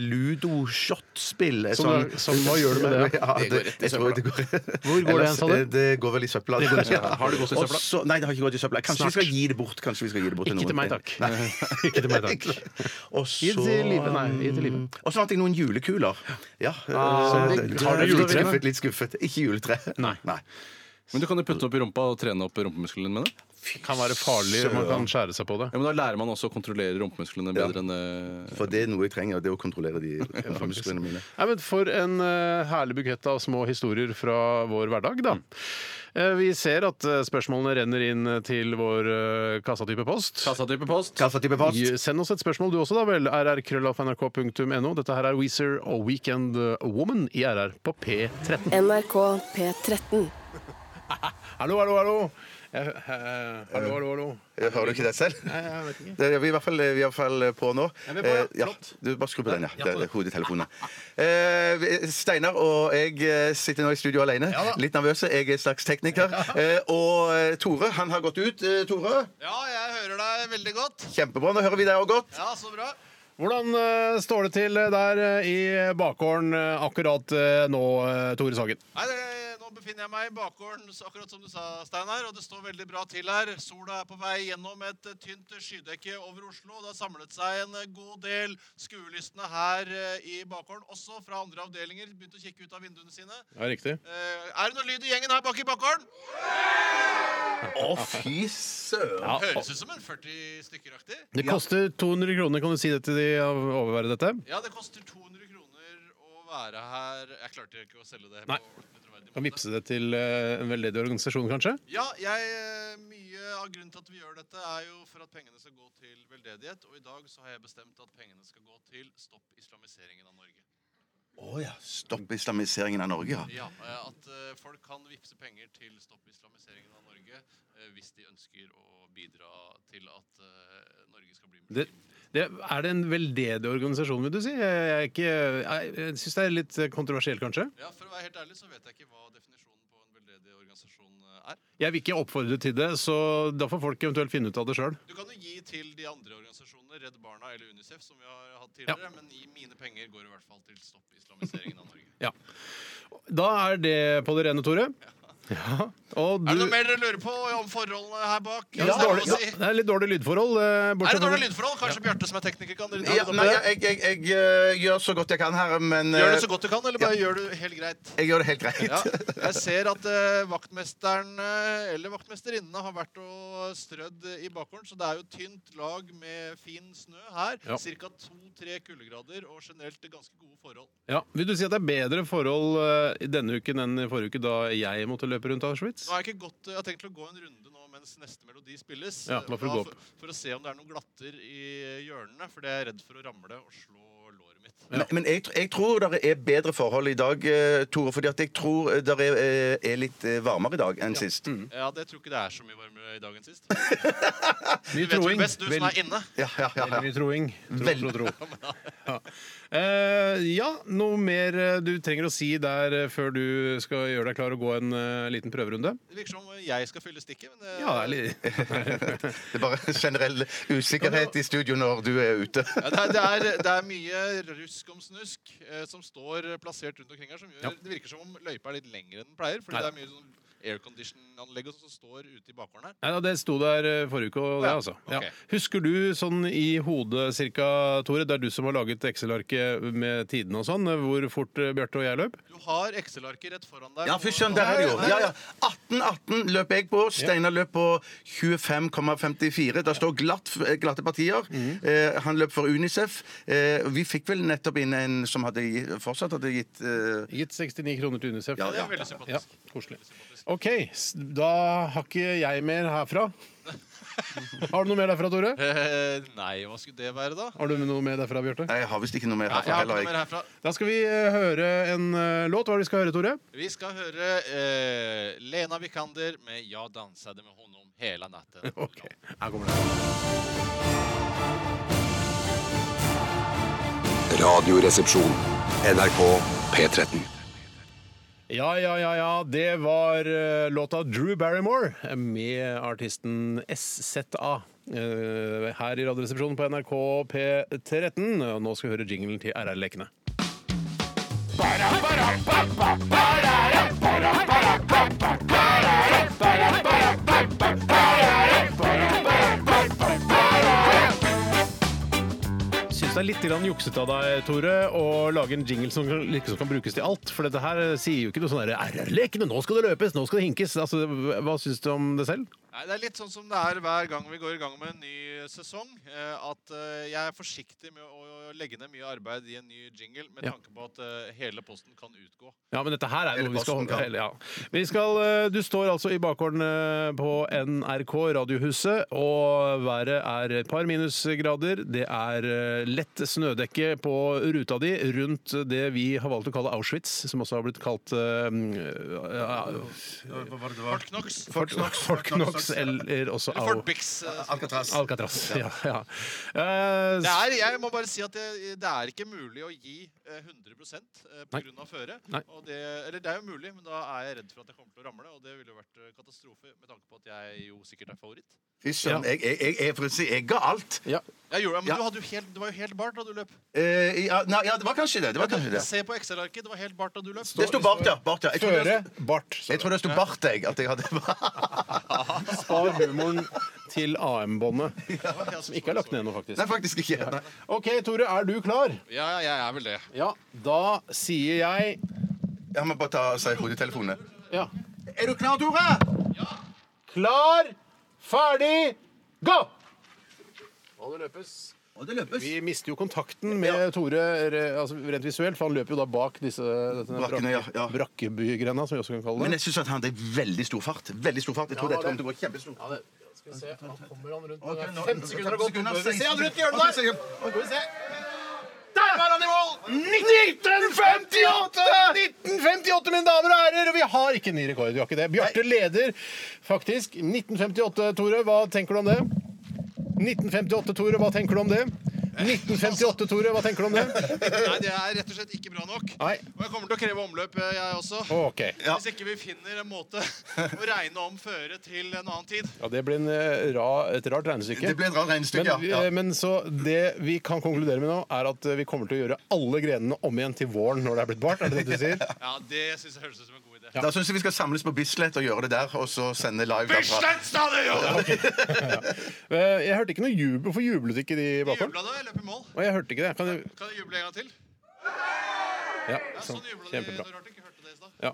ludo-shot-spill. et
Som
sånn-
da- som- hva gjør du med det?
Ja, det, jeg tror det går,
Hvor går det hen, sa du?
eh, Det går vel i
Har
søpla.
det gått i søpla?
*laughs* Og så- Nei, det har ikke gått i søpla. Kanskje vi
Snart.
skal gi det bort. Kanskje vi skal gi det bort
Ikke til meg, takk. Ikke til meg, takk.
*laughs* Og
Gi det
så
til live. Nei, gi det til live.
Og så vant jeg noen julekuler. Ja.
Ah,
eh,
det- Har du
litt
juletre?
skuffet, Litt skuffet. Ikke juletre.
Nei.
Men du kan jo putte opp i rumpa og trene opp rumpemusklene med det.
Kan være farlig. Man kan skjære seg på det.
Ja, men Da lærer man også å kontrollere rumpemusklene bedre enn eh,
For det er noe jeg trenger, det er å kontrollere de musklene mine.
Nei, men For en eh, herlig bukett av små historier fra vår hverdag, da. Eh, vi ser at eh, spørsmålene renner inn eh, til vår eh, kassatype post.
kassatype post.
Kassatype post.
Gi- Send oss et spørsmål du også, da vel. rrkrøllalfnrk.no. Dette her er Weezer og Weekend eh, Woman i RR på P13.
NRK P13.
Hallo, hallo, hallo! Jeg, eh, hallo, hallo, hallo.
Hører du ikke det selv?
Jeg vet ikke.
Det er vi i hvert fall, vi er i hvert fall på nå.
vi er på, ja.
Eh,
Flott.
Du, bare skru på den, ja. Det er hodetelefonen. Eh, vi- Steinar og jeg eh, sitter nå i studio alene. Litt nervøse. Jeg er slags tekniker. Eh, og eh, Tore, han har gått ut. Eh, Tore,
Ja, jeg hører deg veldig godt.
kjempebra. Nå hører vi deg òg godt.
Ja, så bra.
Hvordan eh, står det til der eh, i bakgården eh, akkurat eh, nå, eh, Tore Sagen?
Nei, det, Eh, nå befinner jeg meg i bakgården, så akkurat som du sa, Steinar. Og det står veldig bra til her. Sola er på vei gjennom et eh, tynt skydekke over Oslo. og Det har samlet seg en eh, god del skuelystne her eh, i bakgården, også fra andre avdelinger. Begynt å kikke ut av vinduene sine.
Ja, riktig.
Eh, er det noe lyd i gjengen her bak i bakgården?
Å, fy søren.
Høres ut som en 40 stykker-aktig.
Det koster 200 kroner, kan du si det til de av overvære dette?
Ja, det koster 200 kroner å være her. Jeg klarte ikke å selge det.
Nei.
på ordentlig troverdig
Kan
måte.
vippse det til eh, en veldedig organisasjon, kanskje?
Ja, jeg, eh, mye av grunnen til at vi gjør dette, er jo for at pengene skal gå til veldedighet. Og i dag så har jeg bestemt at pengene skal gå til Stopp islamiseringen av Norge.
Å ja. Stopp islamiseringen av Norge, ja.
Ja, eh, At eh, folk kan vippse penger til Stopp islamiseringen av Norge eh, hvis de ønsker å bidra til at eh, Norge skal bli
Det, det, er det en veldedig organisasjon, vil du si? Jeg, er ikke, jeg, jeg syns det er litt kontroversielt, kanskje.
Ja, For å være helt ærlig så vet jeg ikke hva definisjonen på en veldedig organisasjon eh, er.
Jeg vil ikke oppfordre til det, så da får folk eventuelt finne ut av det sjøl.
Du kan jo gi til de andre organisasjonene, Redd Barna eller Unicef, som vi har hatt tidligere. Men i mine penger går i hvert fall til Stopp islamiseringen av Norge.
Ja. Da er det på det rene, Tore. Ja. Og du
Er det noe mer dere lurer på om forholdene her bak?
Ja,
Hvis det er lov
dårlig,
å
ja,
si.
det er litt dårlig lydforhold. eh, bortsett
Er det dårlig
fra-
lydforhold? Kanskje Bjarte som er tekniker kan rydde
ja
opp i
nei,
det?
jeg, jeg, jeg eh, gjør så godt jeg kan her, men eh,
Gjør du så godt du kan, eller bare gjør du helt greit?
jeg gjør det helt greit.
Ja. Jeg ser at eh, vaktmesteren eh, eller vaktmesterinnene har vært og strødd i bakgården, så det er jo tynt lag med fin snø her.
Ja.
Cirka to-tre kuldegrader og generelt ganske gode forhold.
Ja. Vil du si at det er bedre forhold eh, i denne uken enn i forrige uke, da jeg måtte løpe rundt Auschwitz?
Nå har jeg ikke gått, eh, jeg har tenkt å gå en runde nå mens neste melodi spilles.
Ja, bare for å gå
Da
opp.
for, for å se om det er noen glatter i hjørnene, for det er jeg redd for å ramle og slå låret mitt.
Men, men jeg, tr- jeg tror det er bedre forhold i dag, eh, Tore. fordi at jeg tror det er, eh, er litt eh, varmere i dag enn sist.
Mm.
Ja, Mm. det tror ikke det er så mye varmere i dag enn sist. Du
Mye
vet
troing.
jo best, du som
Vel-
er inne.
Ja, ja, ja, ja.
Veldig mye troing. Tro,
Vel-
tro, tro. *laughs* Ja. Eh, ja, noe mer eh, du trenger å si der eh, før du skal gjøre deg klar og gå en eh, liten prøverunde?
Det virker som om jeg skal fylle stikket, men det,
Ja, det er litt...
Det er bare generell
*laughs*
usikkerhet i studio når du er ute.
Ja, det, er, det, er, det er mye rusk om snusk eh, som står plassert rundt omkring her, som gjør det virker som om løypa er litt lengre enn den pleier, fordi
Nei.
det er mye sånn aircondition-anlegg og sånn som står ute i bakgården her.
Nei, da, det sto der eh, forrige uke, og det,
Ja,
altså. Ja.
ok.
Husker du sånn i hodet cirka, Tore, det er du som har laget Excel-arket med tidene og sånn, eh, hvor fort eh, Bjarte og jeg løp?
Du har Excel-arket rett foran deg.
Ja,
og-
fy søren, der er det jo. Ja, ja. 18-18 løp jeg på. Steinar løp på 25,54. Der står glatt, glatte partier.
Mm.
Eh, han løp for Unicef. Eh, vi fikk vel nettopp inn en som hadde gi- fortsatt hadde gitt eh,
Gitt 69 kroner til UNICEF.
Det er veldig
Ja,
sympatisk.
koselig. OK, s- da har ikke jeg mer *laughs* herfra. Har du noe mer derfra, Tore?
Eh, nei, hva skulle det være, da?
Har du noe mer derfra, Bjarte?
Nei, jeg har visst ikke noe mer
Nei, jeg
herfra
har
heller.
ikke noe mer
Jeg.
herfra.
Da skal vi eh, høre en eh, låt. Hva er det vi skal høre, Tore? *laughs*
Vi skal høre eh, Lena Vikander med 'Jag dansade med honom hela natten'.
Her kommer det.
Radioresepsjon. NRK P13.
Ja, ja, ja, ja. Det var eh, låta Drew Barrymore med artisten SZA. eh, Her i Radioresepsjonen på NRK P13. Og Nå skal vi høre jinglen til RR-lekene. Syns det er litt grann juksete av deg, Tore, å lage en jingle som kan, liksom kan brukes til alt. For dette her sier jo ikke noe sånn derre RR-lekene, nå skal det løpes, nå skal det hinkes. Altså, hva syns du om det selv?
Nei, Det er litt sånn som det er hver gang vi går i gang med en ny sesong. eh, At eh, jeg er forsiktig med å å legge ned mye arbeid i en ny jingle med
Ja.
tanke på at eh, hele posten kan utgå.
Ja, men dette her er noe vi skal
Posten, ja.
håndtere. Ja. Vi skal, eh, du står altså i bakgården eh, på NRK Radiohuset, og været er et par minusgrader. Det er eh, lett snødekke på ruta di rundt det vi har valgt å kalle Auschwitz, som også har blitt kalt eh, ja,
Fort Knox.
Fort Knox, Fort Knox eller også
Eller
Au
Fort Bix. eh, som det
Alcatraz.
Alcatraz. Ja, ja. Eh,
Det er, jeg må bare si at det, det er ikke mulig å gi eh, 100
Nei.
pga. føre.
Nei.
Og det, eller det er jo mulig, men da er jeg redd for at jeg kommer til å ramle. Og det ville jo vært eh, katastrofe med tanke på at jeg jo sikkert er favoritt.
Fy søren. Jeg, jeg, jeg, jeg, for å si, jeg ga alt.
Jeg gjorde, det, men
Ja.
du, hadde jo helt, det var jo helt bart da du løp.
Eh, ja, nei, ja, det var kanskje det. Det var kanskje det.
Se på Excel-arket. Det var helt bart da du løp.
Det sto bart, ja. Bart, ja. Jeg trodde det-
Bart.
jeg trodde det sto bart, jeg. At jeg hadde *laughs*
Spar humoren til AM-båndet,
Ja,
som ikke er lagt ned nå, faktisk.
Nei, faktisk ikke. Nei.
OK, Tore, er du klar?
Ja, ja, jeg er vel det.
Ja. Da sier jeg
Jeg må bare ta og si hodetelefonene.
ja.
Er du klar, Tore?
Klar, ferdig, gå! Og det løpes.
Og det løpes.
Vi mister jo kontakten med Tore re- altså rent visuelt, for han løper jo da bak disse dette
Brakkene, ja, ja.
Brakkebygrenda, som vi også kan kalle
Men
det.
jeg syns han hadde veldig stor fart. Veldig stor fart. Jeg tror
Ja,
dette
det-
kommer til å gå kjempestort.
Ja, det- skal vi se, han kommer han rundt
Ok, nå-
15 sekunder har gått.
sekunder,
Se se han rundt
Ok,
hjørnet der!
sekunder.
Skal vi se.
Der var han i mål!
1958! 1958, mine damer og herrer! Og vi har ikke ny rekord. vi har ikke det. Bjarte leder faktisk. 1958, Tore, hva tenker du om det? 1958, Tore, hva tenker du om det? 1958, Tore, hva tenker du om det?
Nei, det er rett og slett ikke bra nok.
Nei.
Og jeg kommer til å kreve omløp, eh, jeg også.
OK.
Hvis ikke vi finner en måte å regne om føre til en annen tid.
Ja, det ble en, eh, ra, et rart regnestykke.
Det ble et rart regnestykke,
men,
ja.
eh, Men så det vi kan konkludere med nå, er at eh, vi kommer til å gjøre alle grenene om igjen til våren når det er blitt bart. Er det det du sier?
Ja, Det syns jeg høres ut som en god idé.
Da syns jeg vi skal samles på Bislett og gjøre det der, og så sende live. derfra.
Bislett stadion!
Eh, Jeg hørte ikke noe jubel. Hvorfor jublet ikke de bakgården?
Jubla da jeg løp i mål.
Å, Jeg hørte ikke det. Kan du
Kan jeg juble en gang til?
Ja,
Ja,
sånn.
sånn jubla de
Kjempebra.
når Arctic hørte det i stad.
Ja.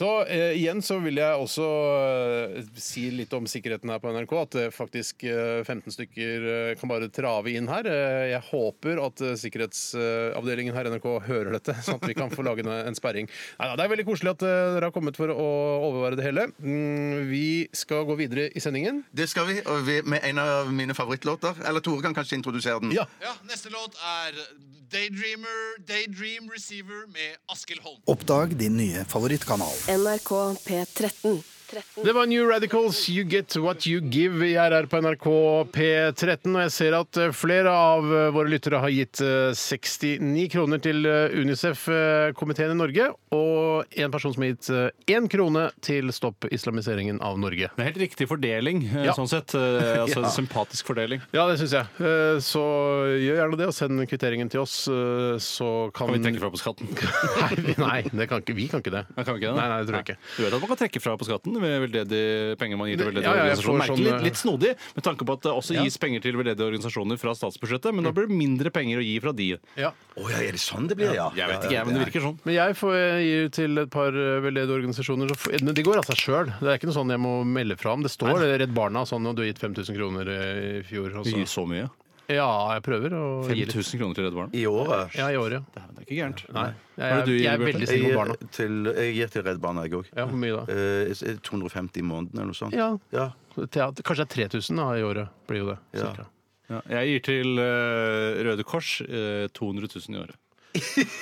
Så eh, igjen så vil jeg også eh, si litt om sikkerheten her på NRK. At eh, faktisk eh, 15 stykker eh, kan bare trave inn her. Eh, jeg håper at eh, sikkerhetsavdelingen her i NRK hører dette, *laughs* sånn at vi kan få lage en, en sperring. Neida, det er veldig koselig at eh, dere har kommet for å overvære det hele. Mm, vi skal gå videre i sendingen.
Det skal vi, og vi med en av mine favorittlåter. Eller Tore kan kanskje introdusere den.
Ja.
Ja, Neste låt er Daydreamer, Daydream Receiver med Askild Holm.
Oppdag din nye favorittkanal.
NRK P13. 13.
Det var New Radicals, You Get What You Give i RR på NRK P13. Og jeg ser at eh, flere av eh, våre lyttere har gitt eh, 69 kroner til eh, Unicef-komiteen i Norge. Og en person som har gitt eh, én krone til Stopp islamiseringen av Norge.
Det er helt riktig fordeling, eh,
Ja.
sånn sett. Eh, *laughs* Altså en sympatisk fordeling.
Ja, det syns jeg. Eh, Så gjør gjerne det, og send kvitteringen til oss, eh, så kan
Kan vi trekke fra på skatten?
*laughs* Nei, vi- nei det kan ikke, vi kan ikke det.
Ja, Kan vi ikke det?
Nei, nei, det tror jeg ikke.
Du vet at man kan trekke fra på skatten ved veldedige penger man gir til veldedige
Ja, ja, jeg får
organisasjoner? Merkelig,
sånn, eh,
litt, litt snodig, med tanke på at det også gis penger til veldedige organisasjoner fra statsbudsjettet, men da blir det mindre penger å gi fra de.
Ja.
Å ja, er det sånn det blir, ja?
Jeg vet ikke, jeg, men det virker sånn.
Men jeg får gi til et par eh, veldedige organisasjoner. Så, f- men de går av seg sjøl. Det er ikke noe sånn jeg må melde fra om. Det står det er Redd Barna sånn, og du har gitt 5000 kroner eh, i fjor. Og
Du
så.
gir så mye.
Ja, jeg prøver å gi litt.
5000 kroner til Redd Barna.
I året.
Ja, i året, ja.
Altså, Det er ikke gærent.
Nei. Jeg,
Hva er det
er-
du gir,
jeg er
Bjarte?
veldig
Jeg
snill med
gir
barna.
til, jeg gir til Redd Barna, jeg òg.
Ja, Hvor mye da?
Eh, 250 i måneden eller noe sånt.
Ja.
ja.
Teater, kanskje det er 3000 da, i året. blir jo det.
Ja.
cirka.
Ja, jeg gir til eh, Røde Kors eh, 200 000 i året.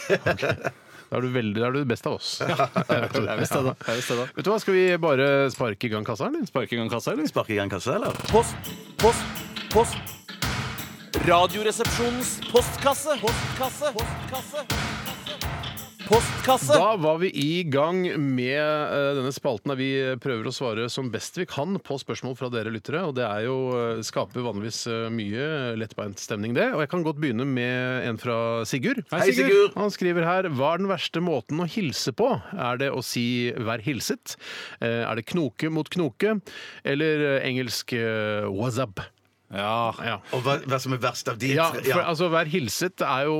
Da er du veldig, da er du best av oss.
Det er visst det, da. Det er visst det da.
Vet du hva, Skal vi bare sparke i gang kassa, eller?
Sparke i gang kassa, eller?
Sparke i gang kassa, eller?
Post, post, post. Radioresepsjonens postkasse. Postkasse. postkasse. postkasse.
Da var vi i gang med eh, denne spalten der vi prøver å svare som best vi kan på spørsmål fra dere lyttere. Og det er jo, eh, skaper vanligvis eh, mye lettbeint stemning, det. Og jeg kan godt begynne med en fra Sigurd.
Hei, Sigurd.
Han skriver her Hva er den verste måten å hilse på? Er det å si 'vær hilset'? Eh, Er det knoke mot knoke? Eller eh, engelsk eh, 'what's up'?
Ja.
Ja.
Og hva, hva som er verst av de
Ja,
tre-
for altså Vær hilset er jo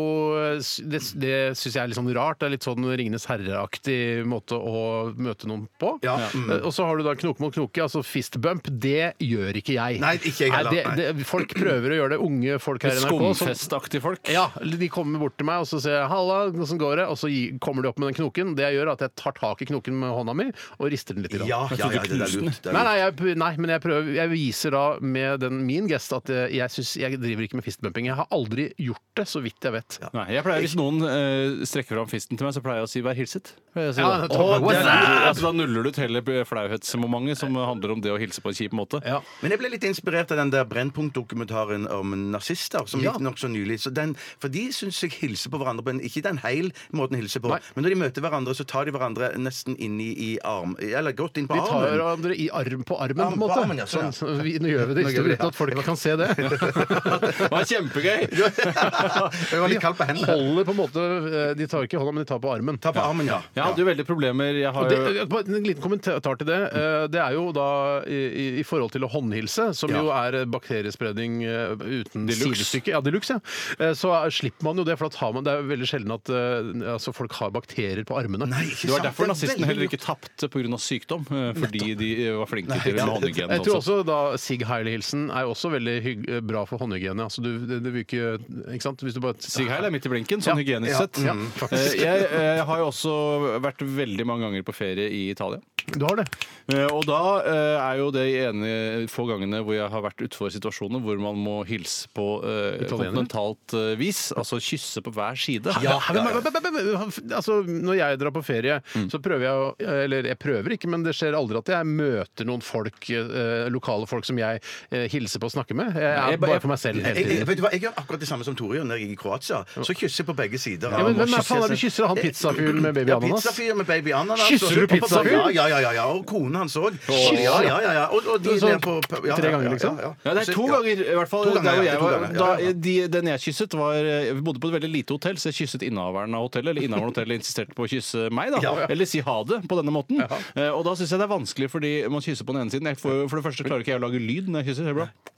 Det, det syns jeg er litt sånn rart. Det er litt sånn Ringenes herre-aktig måte å møte noen på.
Ja.
Eh, Og så har du da knoke mot knoke, altså fist bump. Det gjør ikke jeg.
Nei, ikke jeg heller,
Nei,
nei.
det, det, folk prøver å gjøre det, unge folk her i NRK. som-
Skumfestaktige folk.
ja, De kommer bort til meg og så sier jeg, 'halla, hvordan går det?' Og så gi- kommer de opp med den knoken. Det jeg gjør, er at jeg tar tak i knoken med hånda mi og rister den litt. i
Ja,
land.
ja, ja, ja, det er
knuste den.
lurt. det er
Nei, nei,
lurt.
jeg, nei, men jeg, prøver, jeg viser da med den, min gest at jeg, jeg, synes, jeg driver ikke med fistbumping. Jeg har aldri gjort det, så vidt jeg vet.
Nei, jeg pleier, Hvis noen eh, strekker fram fisten til meg, så pleier jeg å si 'vær hilset'. Pleier jeg å si
Ja,
det.
det tar
Å, det
meg- What's
er- altså, da nuller du ut hele flauhetsmomentet som handler om det å hilse på en kjip måte.
Ja.
Men jeg ble litt inspirert av den der Brennpunkt-dokumentaren om nazister. som
Ja.
gikk nok så nylig. Så den, for de syns jeg hilser på hverandre på en Ikke den heil måten å hilse på,
Nei.
men når de møter hverandre, så tar de hverandre nesten inn i, i arm... Eller godt inn på
Vi tar
armen.
hverandre i arm på armen, på en
Arm på
måte.
armen, ja, sånn, ja.
sånn, så vi, nå gjør vi det
Nå
i
gjør vi
stedet
det, ja.
uten at folk kan se det.
*laughs*
Det var
*laughs*
kjempegøy!
Jeg var litt kald på hendene.
Holder på en måte eh, De tar ikke hånda, men de tar på armen.
Ta på armen, ja.
Jeg hadde jo veldig problemer. Jeg har
Og
jo
det, eh, bare en liten kommentar til det. Eh, Det er jo da i, i- i forhold til å håndhilse, som
Ja.
jo er eh, bakteriespredning eh, uten
De luxe.
sidestykke, ja, de luxe, ja. Eh, så er- slipper man jo det. For da tar man, det er jo veldig sjelden at eh, altså, folk har bakterier på armene.
Nei, ikke
Det var
sant?
derfor
er
nazistene
veldig
heller ikke tapte pega. sykdom, eh, fordi de var flinke til å håndhygiene.
Jeg tror også da Sig Heil-hilsen er også veldig hygg, eh, bra for håndhygiene. Altså du, det, det vil ikke, ikke sant? Hvis du bare
Sig Heil er midt i blinken, sånn hygienisk sett.
Ja,
Mm.
faktisk.
Eh, Jeg eh, har jo også vært veldig mange ganger på ferie i Italia.
Du har det.
Eh, Og da eh, er jo det ene få gangene hvor jeg har vært utfor situasjoner hvor man må hilse på eh,
Italienere?
kontinentalt eh, vis, altså kysse på hver side.
men- men- men- men- men- Altså, når jeg drar på ferie,
Mm.
så prøver jeg å eh, Eller jeg prøver ikke, men det skjer aldri at jeg møter noen folk, eh, lokale folk som jeg eh, hilser på og snakker med. Jeg er
jeg-
bare for meg selv hele
Jeg, jeg,
tiden.
vet du hva, jeg gjør akkurat det samme som Tore gjør når jeg er i Kroatia. Så kysser jeg på begge sider.
Ja, men hvem er faen er det du kysser? Han pizzafyren med baby
Eh, Ja,
ananas?
Pizzafyr med baby ananas.
Kysser du
Og- og-
pizzafyr?
Ja, ja, ja, ja, ja. Og konen hans òg.
Kysser?
Ja, ja, ja, ja. Og, og de
Det er sånn
der på ja,
tre ganger,
ja, ja,
liksom?
ja.
Ja, det er to
Så- ja.
ganger, i hvert fall.
To ganger,
der hvor
ja,
jeg
to
var,
ganger, ja, ja.
Da, de, den jeg kysset, var eh, Vi bodde på et veldig lite hotell, så jeg kysset innehaveren av hotellet. Eller innehaveren av hotellet insisterte på å kysse meg, da.
*laughs* Ja, ja.
Eller si ha det på denne måten. Eh, Og da syns jeg det er vanskelig, fordi man kysser på den ene siden. Jeg får, jo- for det første klarer ikke jeg å lage lyd når jeg kysser. hører du det? *laughs*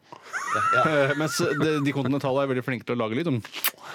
Eh, Mens de, de kontinentale er veldig flinke til å lage lyd. sånn.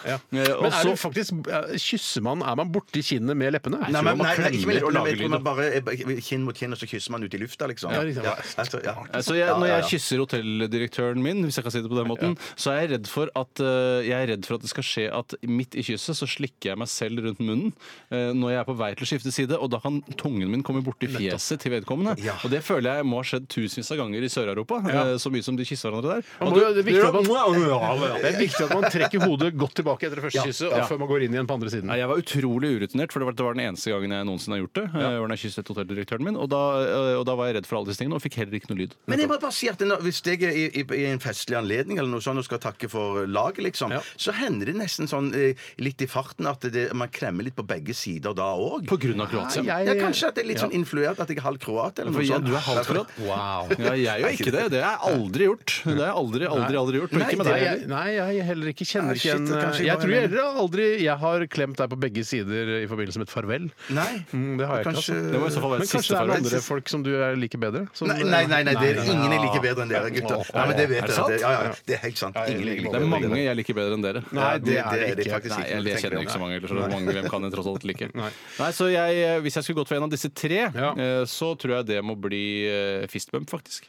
Eh, og
Men er
så-
du faktisk eh, Kysser man Er man borti kinnet med leppene?
Nei, men, nei, nei, ikke med
klemmer og
leppene,
lager
men jeg tror man
lyd.
bare er kinn mot kinn, og så kysser man ut i lufta, liksom.
Ja, riktig.
altså, ja.
Eh, Så jeg,
Ja,
når
ja,
jeg
ja.
kysser hotelldirektøren min, hvis jeg kan si det på den måten, så er jeg redd for at eh, Jeg er redd for at det skal skje at midt i kysset så slikker jeg meg selv rundt munnen eh, når jeg er på vei til å skifte side, og da kan tungen min komme borti fjeset til vedkommende.
Ja.
Og det føler jeg må ha skjedd tusenvis av ganger i Sør-Europa, eh, så mye som de kysser hverandre der.
Man
Og
må
du-
jo- det er viktig at man-
Ja,
Det er viktig at man trekker hodet godt tilbake etter det første kysset, og
Ja.
før man går inn igjen på andre siden.
Nei, jeg var utrolig urutinert, for det var, det var den eneste gangen jeg noensinne har gjort det. eh, var når jeg kysset hotelldirektøren min, og da, eh, og da var jeg redd for alle disse tingene, og fikk heller ikke noe lyd.
Men jeg må bare si at når, hvis jeg er i, i, i en festlig anledning eller noe sånt og skal takke for laget, liksom,
Ja.
så hender det nesten sånn eh, litt i farten at det, man kremmer litt på begge sider da òg.
På grunn av Kroatia.
Nei,
Ja, kanskje at det er litt sånn influert at jeg er halv kroat eller
For
noe
ja,
sånt.
du er halvt kroat.
Wow.
Ja, jeg gjør ikke det. Det har jeg aldri gjort. Det har jeg aldri, aldri, aldri gjort. Og ikke med
Nei,
deg
jeg,
heller.
nei, jeg heller ikke
Nei,
kjenner ikke
shit,
igjen
det kanskje
eh, Jeg
var
tror
en-
heller aldri jeg har klemt deg på begge sider i forbindelse med et farvel.
Nei.
Mm, det har jeg
Kanskje-
ikke. Altså.
Det må i så fall være
Men
et
kanskje
siste
det er noen
farvel.
andre folk som du er liker bedre? Som,
Nei, nei, nei, nei, det er
Nei,
ingen er like bedre enn dere, gutter. Nei, men det
Er
vet
det
dere.
sant?
Det, ja, ja, det er helt sant. Ingen er like
Det er
bedre enn
mange
dere.
jeg liker bedre enn dere.
Nei, det er det
det
ikke.
faktisk
Nei,
ikke.
jeg,
når du
jeg
tenker
kjenner
over
ikke
det.
så mange ellers. så Mange, hvem kan jeg tross alt like?
Nei.
Nei, så jeg, eh, Hvis jeg skulle gått for en av disse tre, eh, så tror jeg det må bli eh, fistbump, faktisk.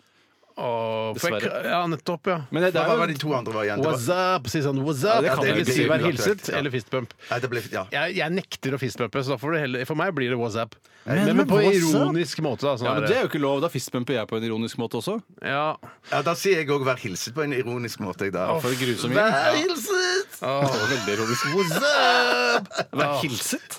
Åh, for jeg-
Dessverre.
Ja, nettopp, ja.
Men det, det
Nei, Hva var
var,
de to andre variantene?
What's up? Si sånn what's up?
Ja, det kan
det
jeg
vil
ikke
si
si.
vær hilset
Ja.
eller fistbump.
Nei, det ble, ja.
Jeg, jeg nekter å fistbumpe, så da får du heller, for meg blir det what's up. Men,
Men-
men,
men
på
what's up?
ironisk måte. Da, sånn
ja, men
her,
det er jo ikke lov. Da fistbumper jeg på en ironisk måte også.
ja.
ja, Da sier jeg òg 'vær hilset' på en ironisk måte. jeg, Da.
For grusom gjeng.
Vær hilset!
Ja, det var veldig ironisk. Vær hilset.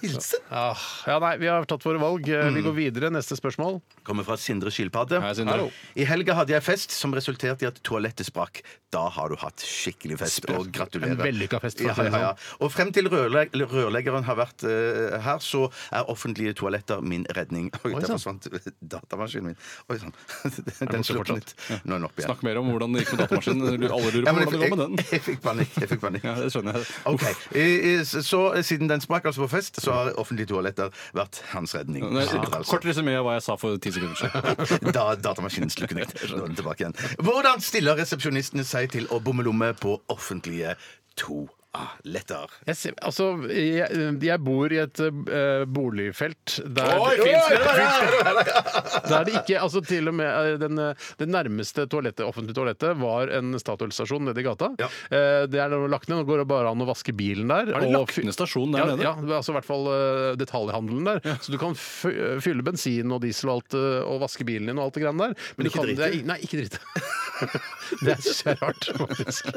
Hilset?
Ah, ja, nei, Eh, vi har tatt våre valg. Vi går videre. Neste spørsmål.
Kommer fra Sindre Skilpadde.
Hei, Sindre.
Hallo.
I helga hadde jeg fest som resulterte i at toalettet sprakk. Da har du hatt skikkelig fest.
Sprakk.
Og gratulerer.
En vellykka fest, for
Ja,
å si det
ja, ja.
sånn.
Og frem til rørleg rørleggeren har vært eh, her, så er offentlige toaletter min redning. *laughs* Oi, der
sann.
sånn.
forsvant datamaskinen min. Oi *laughs* sann.
borte
Den sluknet. Nå er den oppe igjen.
Snakk mer om hvordan det gikk med datamaskinen. Du- Alle lurer
Ja,
på
men
hvordan det går med
jeg,
den.
jeg, jeg fikk panikk. Jeg fikk panikk.
*laughs* Ja, det skjønner jeg.
Ok, I, i, så Siden den sprakk altså på fest, så har offentlige toaletter vært hans redning.
Nei,
Sitter altså.
Kort resymé av hva jeg sa for ti sekunder siden.
*laughs* Da datamaskinen *laughs* sluknet. Nå er den tilbake igjen. Hvordan stiller resepsjonistene seg til å bomme lomme på offentlige toaletter?
Jeg, ser, altså, jeg, jeg bor i et eh, boligfelt der
Oi, fint skal det
*laughs* Der det ikke, altså til og med eh, den, eh, det nærmeste toalettet, offentlige toalettet var en Statoil-stasjon nede i gata.
Ja.
Eh, det er nå lagt ned, nå går det bare an å vaske bilen der.
Er det
og
lagt ned stasjon der
ja,
nede?
Ja, det er altså i hvert fall eh, detaljhandelen der. Så du kan fy- fylle bensin og diesel og alt, eh, og vaske bilen din og alt det greiene der. Men, du
ikke
kan,
drite?
det er, i- nei, ikke drite. det *laughs* er så rart,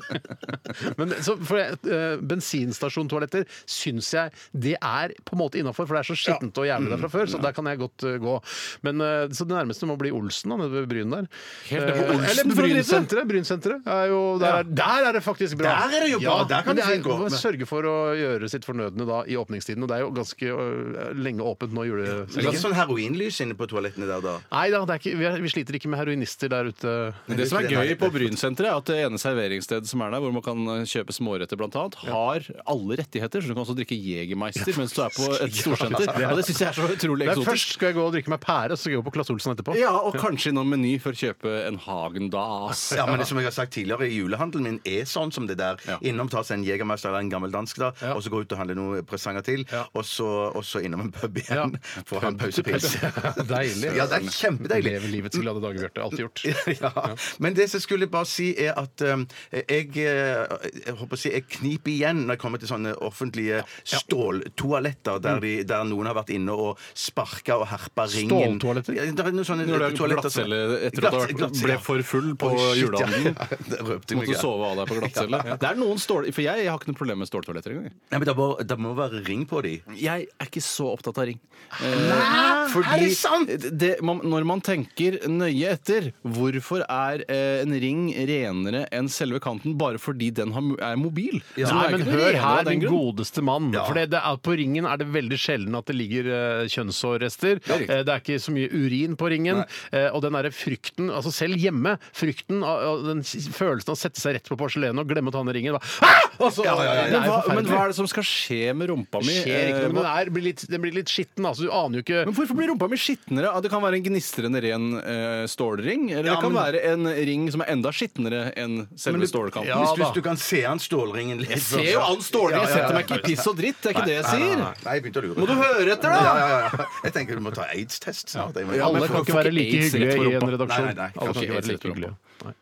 faktisk. Men så, for jeg, eh, bensinstasjontoaletter syns jeg det er på en måte innafor, for det er så skittent og jævlig der fra
Mm.
før, så der kan jeg godt eh, gå. Men eh, så det nærmeste må bli Olsen, da, nede ved Bryn der.
Helt nede på
Eh,
Olsen
Eller
for å drite?
Brynsenteret. Brynsenteret er jo Der, er- der er det faktisk bra.
Der er det jo bra, der
men
kan du
det er-
fint gå.
man sørge for å gjøre sitt fornødne da i åpningstiden. Og det er jo ganske øh, lenge åpent nå i
Det er
julesesongen.
ikke sånn heroinlys inne på toalettene der, da.
Nei da, det er ikke, vi, er, vi sliter ikke med heroinister der ute.
Men Det som er gøy på Brynsenteret, er at det ene serveringsstedet som er der, hvor man kan kjøpe småretter blant annet, har alle rettigheter, så du kan også drikke Jegermeister mens du er på et storsenter. Og det syns jeg er så utrolig
Det er
eksotisk.
først skal jeg gå og drikke meg pære, så skal jeg gå på Claes Olsen etterpå.
Ja, og kanskje innom Meny for å kjøpe en Hagen-dass.
Ja, men det som jeg har sagt tidligere, julehandelen min er sånn som det der.
Ja.
Innom tas en Jegermeister eller en gammel dansk, da, og så gå ut og handle noen presanger til, og, så, og så innom en pub igjen *laughs* for å ha en pausepils. *laughs*
Deilig.
Ja, det er kjempedeilig.
Lever livets glade dager, Bjarte. Alltid gjort.
*laughs* ja. Men det som jeg skulle bare si, er at um, jeg, eh, jeg håper å si, jeg kniper igjen når jeg kommer til sånne offentlige ståltoaletter
Mm.
der, de, der noen har vært inne og sparka og herpa ringen.
Ståltoaletter?
Ja, det er noen sånne
Når du er
toaletter som-
glattcelle etter at du har vært-
Glattcelle,
ble
ja.
for full på
Oi, shit, ja.
julehandelen.
Ja, *laughs* det røpte meg,
Måtte
ja.
sove av deg på glattcelle. Det er noen stål... For jeg, har ikke noe problem med ståltoaletter engang.
Nei, men det må, det må være ring på de.
Jeg er ikke så opptatt av ring. Nei,
er det sant?
det- man, når man tenker nøye etter, hvorfor er eh, en ring renere enn selve kanten bare fordi den har, mo- er mobil?
Ja.
Så den
Nei,
er
men
ikke noe
hør
renere av
her,
den
min
grunn.
godeste mann.
Ja.
For det, det er, på ringen er det veldig sjelden at det ligger eh, kjønnshårrester.
Ja, riktig.
Eh, det er ikke så mye urin på ringen. Eh, og den derre frykten, altså selv hjemme, frykten av, av den s- følelsen av å sette seg rett på porselenet og glemme å ta ned ringen. Da. Ah! Altså, Det
Men
er jo
hva, men hva
forferdelig.
er det som skal skje med rumpa mi?
Skjer ikke
Eh,
noe, men
hva-
den, er, blir litt, den blir litt skitten. Altså, du aner jo ikke
Men hvorfor blir rumpa mi skitnere? Ah, Det kan være en gnistrende ren eh, stålring. Eller det kan være en ring som er enda skitnere enn selve stålkanten.
Ja,
Hvis,
da.
hvis du kan se an stålringen liksom. litt
Jeg ser jo an stålring! Jeg setter meg ikke i piss og dritt. Det er ikke det jeg sier.
Nei, jeg begynte å lure.
Må du høre etter, da?
Ja, ja, ja. Jeg tenker du må ta aids-test snart. jeg må-
Ja,
Alle
men
kan
folk
ikke
får
være
ikke
like
AIDS rett
hyggelige
for
i en
rumpa.
redaksjon.
Nei, nei, nei,
Alle kan
kanskje
ikke
AIDS
være
rett for
like hyggelige. Nei.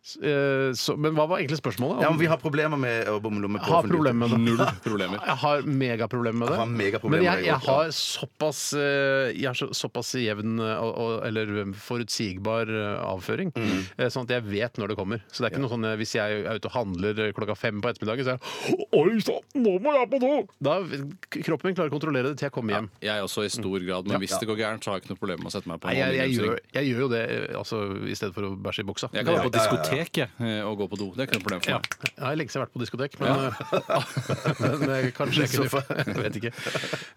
S- eh, Så, men hva var egentlig spørsmålet?
Ja, men
Om,
Vi har problemer med å bomme lomme på
har problemer med det. *laughs*
Null problemer.
Jeg har megaproblemer med det.
Jeg har megaproblemer
men jeg,
med det,
jeg
ja.
har såpass eh, Jeg har så- såpass jevn eh, og, og, eller forutsigbar eh, avføring, eh, sånn at jeg vet når det kommer. Så det er ikke noe sånn eh, hvis jeg er ute og handler eh, klokka fem på ettermiddagen, så er jeg Oi sann, nå må jeg på do! Da Kroppen min klarer å kontrollere det til jeg kommer hjem.
Jeg også i stor grad, men hvis det går gærent, så har jeg ikke noe problem med å sette meg på
Mm. Nei,
en
jeg, jeg,
aluminiumsring.
gjør, jeg gjør jo det eh, altså, i stedet for å bæsje i buksa.
Jeg kan være på diskotek jeg, eh, og gå på do. Det er ikke noe problem for meg.
Jeg har lenge siden vært på diskotek, men, men eh, *laughs* kanskje jeg kunne Jeg vet ikke.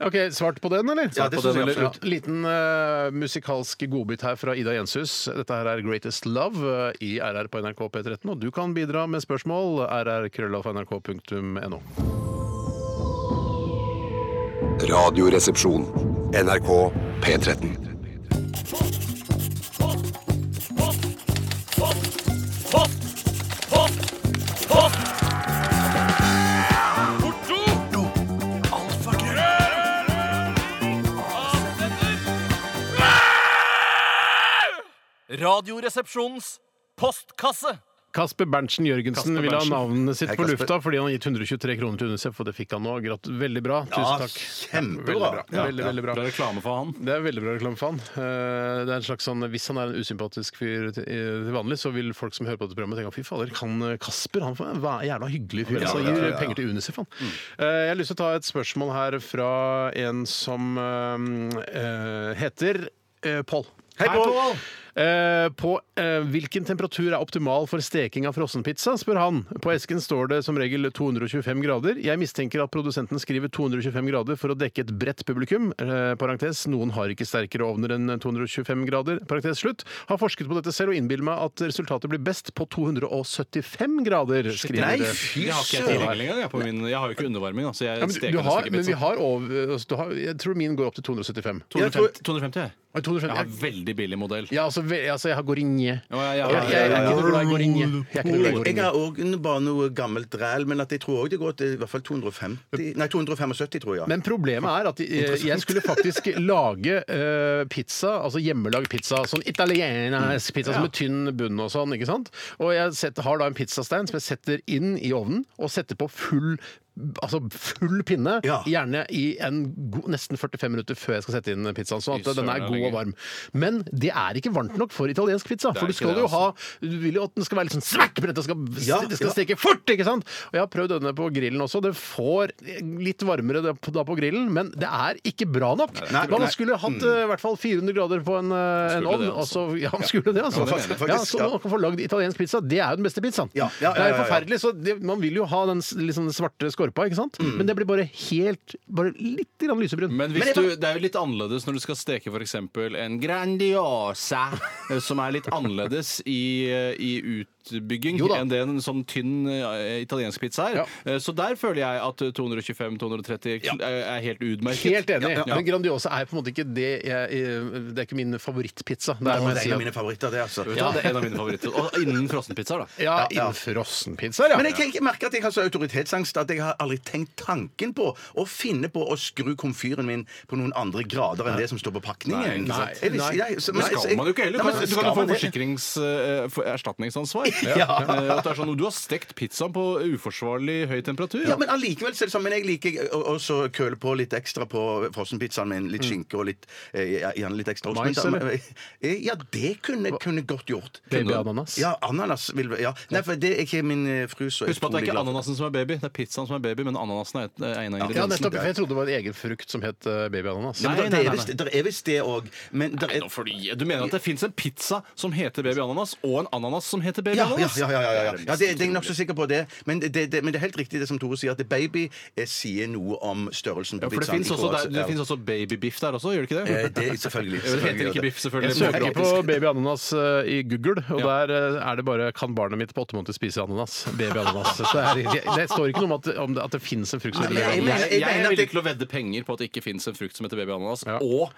OK, svart på den, eller?
Ja, det synes jeg
eller?
absolutt.
Liten eh, musikalsk godbit her fra Ida Jenshus. Dette her er Greatest Love eh, i RR på NRK P13, og du kan bidra med spørsmål. rrkrøllalfa.nrk.no.
Radioresepsjon. NRK P13.
Radioresepsjonens postkasse.
Kasper Berntsen Jørgensen vil ha
Berntsen.
navnet sitt
Hei,
på
Kasper.
lufta fordi han har gitt 123 kroner til UNICEF, og det fikk han nå. Grat veldig bra.
Ja,
Tusen takk.
kjempebra.
Veldig bra.
Ja,
veldig,
ja.
veldig bra.
Det er reklame for han.
Det er veldig bra reklame for han. Eh, Det er en slags sånn, Hvis han er en usympatisk fyr til eh, til vanlig, så vil folk som hører på dette programmet tenke fy fader, kan eh, Kasper han er en jævla hyggelig fyr. altså, Han gir penger til UNICEF, han.
Mm.
Eh, Jeg har lyst til å ta et spørsmål her fra en som eh, eh, heter eh, Pål.
Hei, Pål!
Eh, på eh, hvilken temperatur er optimal for steking av frossenpizza, spør han. På esken står det som regel 225 grader. Jeg mistenker at produsenten skriver 225 grader for å dekke et bredt publikum. Eh, parentes, noen har ikke sterkere ovner enn 225 grader. Parentes slutt. Har forsket på dette selv og innbiller meg at resultatet blir best på 275 grader.
Nei,
skriver
fy
Det har ikke jeg
søren!
tilgjengelig engang. Jeg, på min- jeg har jo ikke undervarming. da, så jeg
ja, men, du,
steker
du har,
nesten ikke
men vi
pizza.
har over altså, du har, Jeg tror min går opp til 275.
250, 250, jeg.
Oi, 250,
Jeg har
jeg-
veldig billig modell.
Ja, altså, ve- altså jeg har Gorinje.
Ja, ja, ja,
Jeg- jeg- jeg er ikke noe glad i Gorinje. Jeg er ikke noe glad i
Jeg
Gorinje.
har òg bare noe gammelt ræl, men at jeg tror òg det går til i hvert fall 250 Nei, 275, tror jeg.
Men problemet er at eh, jeg
*laughs*
skulle faktisk lage eh, pizza, altså hjemmelagd pizza, sånn italiensk pizza som med tynn bunn og sånn, ikke sant? Og jeg setter, har da en pizzastein som jeg setter inn i ovnen, og setter på full Altså full pinne,
Ja.
gjerne i en god, nesten 45 minutter før jeg skal sette inn pizzaen. Sånn at
Fy
den
søren, det
er
er
god og varm. Men det er ikke varmt nok for italiensk pizza.
er
For du
ikke
skal
det, altså.
jo ha Du vil jo at den skal være litt sånn smekkbrett, det skal,
Ja,
det skal
ja.
steke fort, ikke sant? Og jeg har prøvd denne på grillen også. Det får litt varmere da på da på grillen, men det er ikke bra nok.
Nei,
Man
nei. Mm.
skulle hatt eh, i hvert fall 400 grader på en, eh, en
Skulle
ovn.
det,
og så-
altså.
Ja, man skulle det, altså.
Ja, det mener jeg.
Ja, så man kan få lagd italiensk pizza. Det er jo den beste pizzaen.
Ja, ja, ja,
Det er jo
ja, ja.
forferdelig, så det, man vil jo ha den s- litt sånn svarte skorpa, ikke sant?
Mm.
Men det blir bare helt Bare litt grann lysebrun.
Men, hvis
jeg-
du, det er jo litt annerledes når du skal steke f.eks. en Grandiosa, eh, som er litt annerledes i, eh, i utbygging
Jo da.
enn det en sånn tynn eh, italiensk pizza er.
Ja.
Eh, Så der føler jeg at 225-230 er helt utmerket.
Helt enig.
Ja, ja.
Men Grandiosa er på en måte ikke det jeg, Det er ikke min favorittpizza. Det er, sånn- må
Å,
jeg
det er
si
en
at-
av mine favoritter, det, altså.
Vet du hva, Det er en av mine favoritter. Og innen frossenpizzaer, da.
Ja, innen frossenpizzaer, ja.
Men jeg, jeg merker at jeg har så autoritetsangst at jeg har aldri tenkt tanken på å finne på å skru komfyren min på noen andre grader enn det som står på pakningen.
Nei,
Jeg visste-
nei.
jeg- så-
Men
men-
skal
jeg-
man jo ikke heller.
Nei, men
Du kan- du
skal
kan jo få eh,
man det?
erstatningsansvar.
*laughs* Ja.
Eh, At det er sånn, Du har stekt pizzaen på uforsvarlig høy temperatur.
Ja, men allikevel så er det sånn, men jeg liker å- å- også å køle på litt ekstra på frossenpizzaen min.
Mm.
Litt skinke og litt, eh, gjerne litt ekstra ost.
Mais,
Men-
eller?
Eh, Ja, det kunne jeg godt gjort.
Babyananas.
Ja, ananas vil Ja. Nei, for det er ikke min eh, fru så
Husk på at det er
utrolig
ikke
glad for.
ananasen som er baby, det er pizzaen som er baby, men ananasen er et- er en av
Ja,
ingrediensene.
nettopp. for Jeg trodde det var en egen frukt som het eh, babyananas.
Nei,
Det er visst- Det er visst det òg, men det
Nei,
er
nå får du- Du mener at det fins en pizza som heter baby ananas, og en ananas som heter baby
Ja, ja,
ananas?
ja, ja, ja, ja. ja det, det er jeg nokså sikker på det. Men det, det, men det er helt riktig det som Tore sier, at baby eh, sier noe om størrelsen
Ja,
på
for det
pizzaen.
fins
i
også,
KS,
der- det
ja.
finnes også babybiff der også, gjør det ikke det?
Eh, det er selvfølgelig.
Ja, det heter ikke biff, selvfølgelig.
Jeg søker på
Praktisk.
babyananas eh, i Google, og
Ja.
der eh, er det bare 'Kan barnet mitt på åtte måneder spise ananas?' Babyananas. Så det, er, det- det står ikke noe om at, om det, at det fins en frukt som heter
Nei,
babyananas.
men-
Jeg,
jeg
jeg
mener
er
at
villig
det-
til å vedde penger på at det ikke fins en frukt som heter baby ananas,
Ja.
og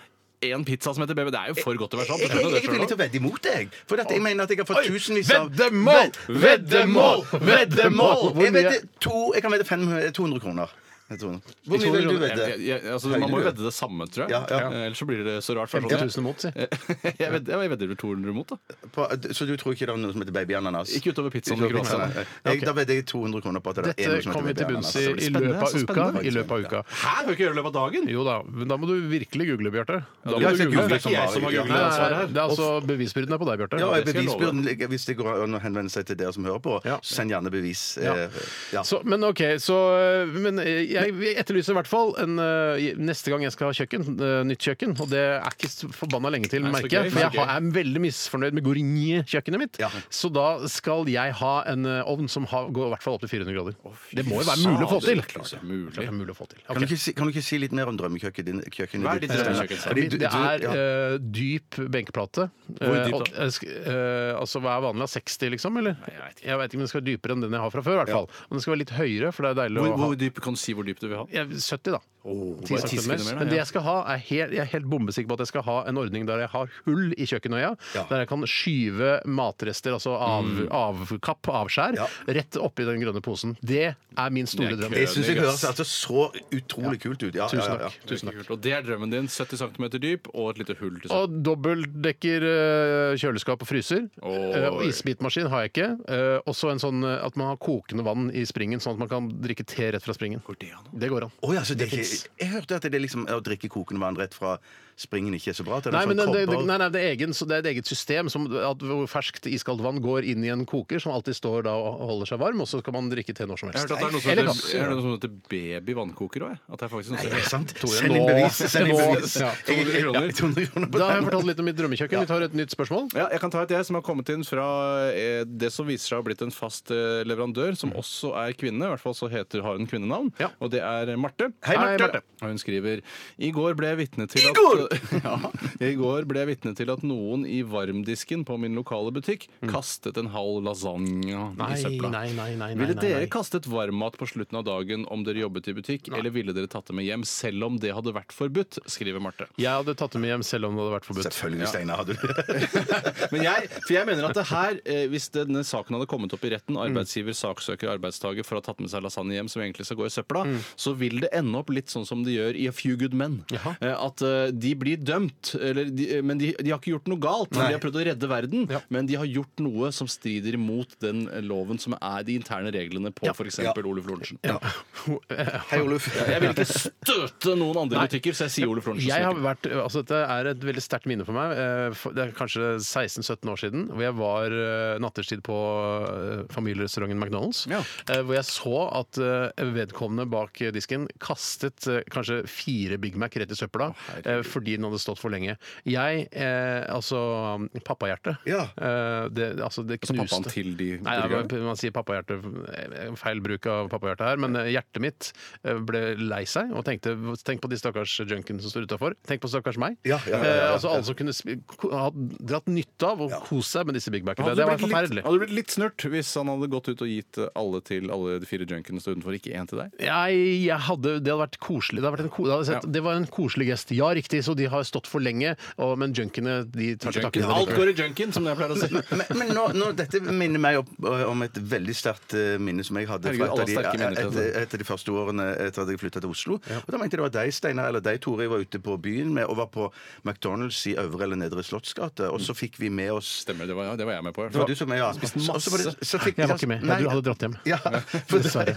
en pizza som heter baby. Det er jo for godt til å være sant.
Jeg, jeg, jeg er villig
*laughs*
til å vedde imot det. jeg. For at jeg mener at jeg har fått tusenvis av
veddemål! Veddemål! Veddemål! Hvor
Jeg,
mye-
vedder to, jeg kan vedde 500, 200 kroner. 200. Hvor mye vil du vedde?
Jeg, jeg, altså, man må jo vedde det samme, tror jeg.
Ja, ja.
Eh, Ellers så blir det så rart. for
50
sånn-
000 mot, si.
*laughs* jeg vedder, jeg vedder vel 200 mot, da.
På, så du tror ikke det er noe som heter babyananas?
Ikke utover pizzaen og
Ikke utover
croissanten.
pizzaen, nei. Jeg- Da vedder jeg 200 kroner på at det er
Dette
noe som
kommer vi
heter
til bunns i i
babyananas.
det blir
løpet av
spennende, så
uka.
spennende.
I løpet av uka.
Hæ? Kan vi ikke gjøre det i løpet av dagen?
Jo da, men da må du virkelig google, Bjarte. Da
det er
må du
ikke
google.
Google som har-
Nei, nei, Det er altså bevisbyrden er på deg, Bjarte.
Ja,
det skal jeg love.
bevisbyrden ligger- Hvis det går an å henvende seg til dere som hører på,
Ja.
send gjerne bevis.
Ja.
Eh, ja.
Så, men ok, så øh, Men øh, jeg jeg etterlyser i hvert fall en, øh, neste gang jeg skal ha kjøkken, øh, nytt kjøkken. Og det er ikke så forbanna lenge til,
Nei, så
merker
gøy,
jeg. For
så
jeg
gøy.
har, er veldig misfornøyd med Gournier-kjøkkenet mitt.
Ja.
Så da skal jeg ha en øh, ovn som har, går i hvert fall opp til 400 grader. det må jo være mulig å få til!
Klart altså. det er
Klart det
mulig.
er mulig å få til.
Kan, du
Ok.
ikke si, kan du ikke si litt mer om drømmekjøkkenet din- kjøkkenet
Hva er ditt drømmekjøkken?
Fordi du-
Det er
du- ja.
øh, dyp benkeplate.
Hvor dyp
Eh,
da?
og- eh, sk- eh, altså hva er vanlig? 60, liksom? Eller?
jeg vet ikke.
Jeg vet ikke, men den skal være dypere enn den jeg har fra før. i hvert fall Men den skal være litt høyere, for det er deilig
Hvor,
å ha
hvor dyp, kan du si hvor dypt du vil ha?
Jeg er 70, da.
bare
10
ti
centimeter.
sekunder mer, da,
Men det
ja.
jeg skal ha, er helt, jeg er helt bombesikker på at jeg skal ha en ordning der jeg har hull i kjøkkenøya. Der jeg kan skyve matrester, altså av,
Mm.
avkapp, avskjær,
Ja.
rett oppi den grønne posen. Det er min store
Det er
drøm.
kult.
Jeg syns det høres altså så utrolig kult ut. Ja, ja,
Tusen
ja, ja.
takk. Tusen takk.
Kult. Og det er drømmen din. 70 cm dyp og et lite hull til seg.
Og dobbeltdekker eh, kjøleskap og fryser.
Oi.
Eh, Og isbitmaskin har jeg ikke. Eh, Også en sånn eh, at man har kokende vann i springen, sånn at man kan drikke te rett fra springen.
Går det an?
Det går an.
Å ja, så det, er ikke-
is?
Jeg hørte at det er liksom å drikke kokende vann rett fra springen ikke er så bra. at Det er
Nei,
noen
men det,
sånne
det,
kobber-
nei, nei, det, er egen, så det er et eget system. Som, at hvor ferskt iskaldt vann går inn i en koker, som alltid står da og holder seg varm, og så kan man drikke te når som
Jeg
helst.
hørte at det er noe som
Eller
heter,
kaffe.
jeg hørte noe som heter babyvannkoker òg. At det er faktisk noe som
Er det
heter
sant?
Tore,
Send inn
nå-
bevis! Send inn
nå-
bevis. *laughs*
ja,
200 kroner.
Ja, 200 kroner på
Da har
den.
jeg fortalt litt om mitt drømmekjøkken. Vi tar et nytt spørsmål.
Ja, jeg kan ta et jeg som har kommet inn fra eh, det som viser seg å ha blitt en fast eh, leverandør, som også er kvinne. I hvert fall så heter, har hun kvinnenavn.
Mm. Ja.
Og det er Marte.
Hei, Marte. Marte.
Og hun skriver I går ble jeg vitne til at *laughs* ja, I går ble jeg vitne til at noen i varmdisken på min lokale butikk kastet en halv lasagne i søpla.
Mm. nei, nei,
Ville dere kastet varmmat på slutten av dagen om dere jobbet i butikk, eller ville dere tatt det med hjem selv om det hadde vært forbudt? skriver Marte.
Jeg hadde tatt det med hjem selv om det hadde vært forbudt.
Selvfølgelig, Steinar. Hadde du det?
Men jeg, for jeg mener at det her, eh, hvis denne saken hadde kommet opp i retten, arbeidsgiver saksøker arbeidstaker for å ha tatt med seg lasagne hjem som egentlig skal gå i søpla,
Mm.
så vil det ende opp litt sånn som de gjør i A Few Good Men.
Jaha.
Eh, At eh, de blir dømt, eller de, eh, men de, de har ikke gjort noe galt. De har prøvd å redde verden, men de har gjort noe som strider mot den eh, loven som er de interne reglene på for f.eks. Oluf Lorentzen.
*laughs*
Hei, *laughs* Oluf.
Jeg vil ikke støte noen andre butikker, så jeg sier Oluf Lorentzen.
Jeg har vært, altså Dette er et veldig sterkt minne for meg. Eh, for- Det er kanskje 16-17 år siden. Hvor jeg var eh, natterstid på eh, familierestauranten McDonald's.
Ja.
eh, Hvor jeg så at eh, vedkommende bak eh, disken kastet eh, kanskje fire Big Mac rett i søpla eh, fordi den hadde stått for lenge. Jeg, eh, altså um, Pappahjerte.
Ja.
eh, Det, altså, det
Altså
knuste.
pappaen til de
Nei, ja, men man sier pappahjerte eh, Feil bruk av pappahjerte her, men eh, hjertet mitt eh, ble lei seg og tenkte Tenk på de stakkars junkiene som står utafor. Tenk på stakkars meg.
Ja, ja, ja, ja, ja.
Eh, Altså alle som kunne sp- ko- ha dratt nytte av og kost seg med disse Big Mac-ene.
Han
Det
hadde
var
blitt litt-
forferdelig.
Hadde blitt litt snurt hvis han hadde gått ut og gitt alle til alle de fire junkiene stå utenfor, ikke én til deg?
Jeg, jeg hadde, det hadde vært koselig. Det, hadde vært en, ko- det, hadde sett,
Ja.
det var en koselig gest. Ja, riktig, så de har stått for lenge, og, men junkiene de tar til takke. med det
Alt
likevel.
går i junkien, som jeg pleier å si.
Men, men nå, nå, dette minner meg opp ø, om et veldig sterkt ø, minne som jeg hadde
Herregud,
fra et av de-
alle sterke minner til
et-
deg.
et av de første årene etter at jeg flytta til Oslo. Og Da mente jeg det var deg, Steinar, eller deg, Tore. Jeg var ute på byen med, og var på McDonald's i Øvre eller Nedre Slottsgate, og så fikk vi med oss
*laughs* Stemmer, det var, ja, det var jeg med på. i hvert
det var
fall.
du som var, ja. Og så var det- så fikk- altså-
Jeg var ikke med.
Nei,
Du hadde dratt hjem.
Ja, *laughs* for,
Dessverre.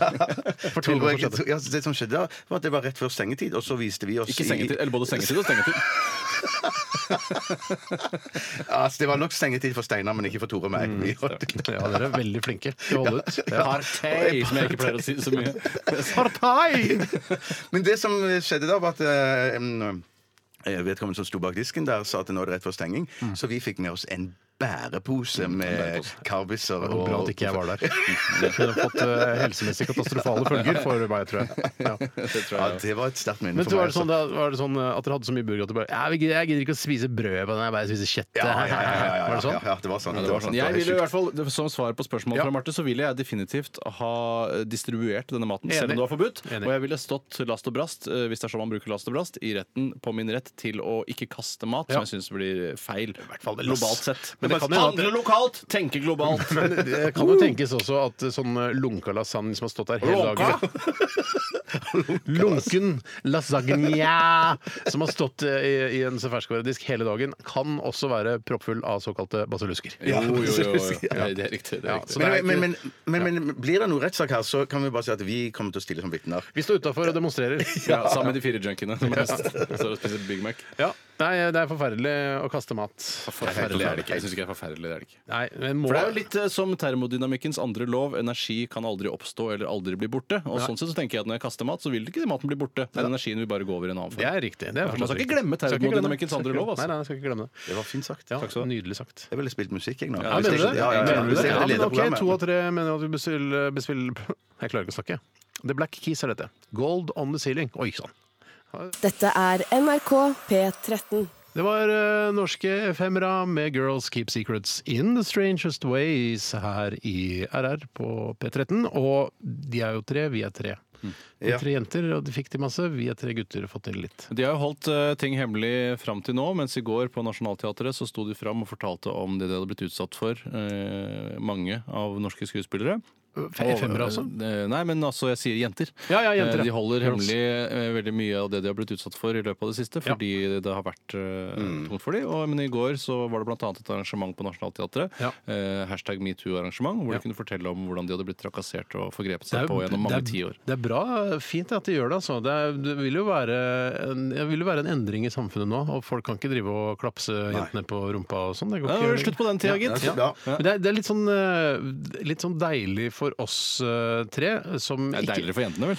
Fortell
Tore,
hva som skjedde.
Ja, det som skjedde da, var at det var rett før stengetid, og så viste vi oss
Ikke
i-
sengetid, eller både sengetid og
*laughs*
stengetid.
Ja, altså, det var nok stengetid for Steinar, men ikke for Tore og meg.
Mm,
Vi holdt-
Ja, dere er veldig flinke til å holde ut. Ja.
Partei, som jeg ikke pleier å si så mye.
*laughs* Men det som skjedde da, var at eh, em, eh, vedkommende som sto bak disken der, sa at nå er det rett for stenging.
Mm.
Så vi fikk med oss en bærepose med karbiser.
Det Mm, var bra at ikke jeg var der. Det kunne fått eh, helsemessig katastrofale følger for meg, tror jeg.
*laughs*
Ja.
Det tror
Ja,
jeg.
det var et sterkt minne
Men
for meg. altså.
var det, sånn, da, var det sånn at dere hadde så mye burger at dere bare Jeg gidder, jeg gidder ikke å spise brød på den, jeg bare spiser kjøttet.
Ja, ja, ja, ja, ja, ja,
Var det sånn?
ja, ja, det var sånn.
Ja,
det var sånn.
Jeg
Det var helt
ville i
sjukt.
hvert fall, Som svar på spørsmålet
Ja.
fra Marte, så ville jeg definitivt ha eh, distribuert denne maten, selv
Enig.
om det var forbudt.
Enig.
Og jeg ville stått last og brast, eh, hvis det er sånn man bruker last og brast, i retten på min rett til å ikke kaste mat, som
Ja.
jeg syns blir feil.
fall det-
globalt sett.
Men det kan jo
Handle lokalt, tenke globalt!
*laughs* Det kan jo tenkes også at sånn lunka lasagne som har stått der hele
*laughs*
dagen Lunken lasagne *laughs* som har stått eh, i, i en ferskvaredisk hele dagen, kan også være proppfull av såkalte basillusker.
Jo, jo, jo. jo. Ja, det er riktig. Det er
Ja,
riktig.
så det er ikke-
men, men, men, men, men blir det noe rettssak her, så kan vi bare si at vi kommer til å stille som vitner.
Vi står utafor og demonstrerer.
Ja, sammen med de fire junkiene som er mest står og spiser Big Mac.
Ja. Nei, det er forferdelig å kaste mat.
Forferdelig er det ikke. Jeg synes ikke det er forferdelig. det er det ikke.
Nei, men må
For det er jo litt eh, som termodynamikkens andre lov. Energi kan aldri oppstå eller aldri bli borte. Og sånn sett så tenker jeg at når jeg kaster mat, så vil ikke maten bli borte. Den energien vil bare gå over i en annen
Det
form.
er riktig. Det er
Man skal
forstått
ikke
riktig.
glemme
Skal ikke glemme.
termodynamikkens andre lov, altså.
Nei, nei, jeg skal ikke glemme det.
Det var fint sagt.
Ja,
Jeg
Nydelig sagt.
ville spilt musikk, jeg nå.
Ja,
Hvis
mener du
jeg-
det?
Ja, ja,
Mener
ja.
du
Hvis
det?
jeg
Ja,
hadde
men
ledet
ok, to av
programmet.
tre mener at vi besvil- besvil- *laughs* Jeg klarer ikke å snakke. The Black Keys er dette. Gold on the ceiling. Oi sånn. sann.
Dette er NRK P13.
Det var eh, norske femmera med Girls Keep Secrets In The Strangest Ways her i RR på P13. Og de er jo tre, vi er tre.
Mm.
De er tre jenter, og de fikk til masse. Vi er tre gutter og fått til litt.
De har jo holdt eh, ting hemmelig fram til nå, mens i går på Nationaltheatret så sto de fram og fortalte om det de hadde blitt utsatt for, eh, mange av norske skuespillere.
Fe- Femmere, altså?
Eh, Nei, men altså, jeg sier jenter.
Ja, ja, jenter,
Eh,
ja.
De holder hemmelig eh, veldig mye av det de har blitt utsatt for i løpet av det siste,
Ja.
fordi det har vært eh,
Mm.
tungt for dem. Men i går så var det bl.a. et arrangement på Nationaltheatret,
Ja.
eh, hashtag metoo-arrangement, hvor
Ja.
de kunne fortelle om hvordan de hadde blitt trakassert og forgrepet
Det
seg
er,
på
jo-
gjennom
det,
mange
er,
tiår.
det er bra, fint at de gjør det. Altså. Det, er, det vil jo være en, det vil jo være en endring i samfunnet nå. Og folk kan ikke drive og klapse jentene på rumpa og sånn. Det går
Ja,
ikke.
slutt på den tida,
Ja,
gitt.
så bra.
Men det er, det er litt, sånn, eh, litt sånn deilig for oss eh, tre som
Det er
ikke
deiligere for jentene, vel?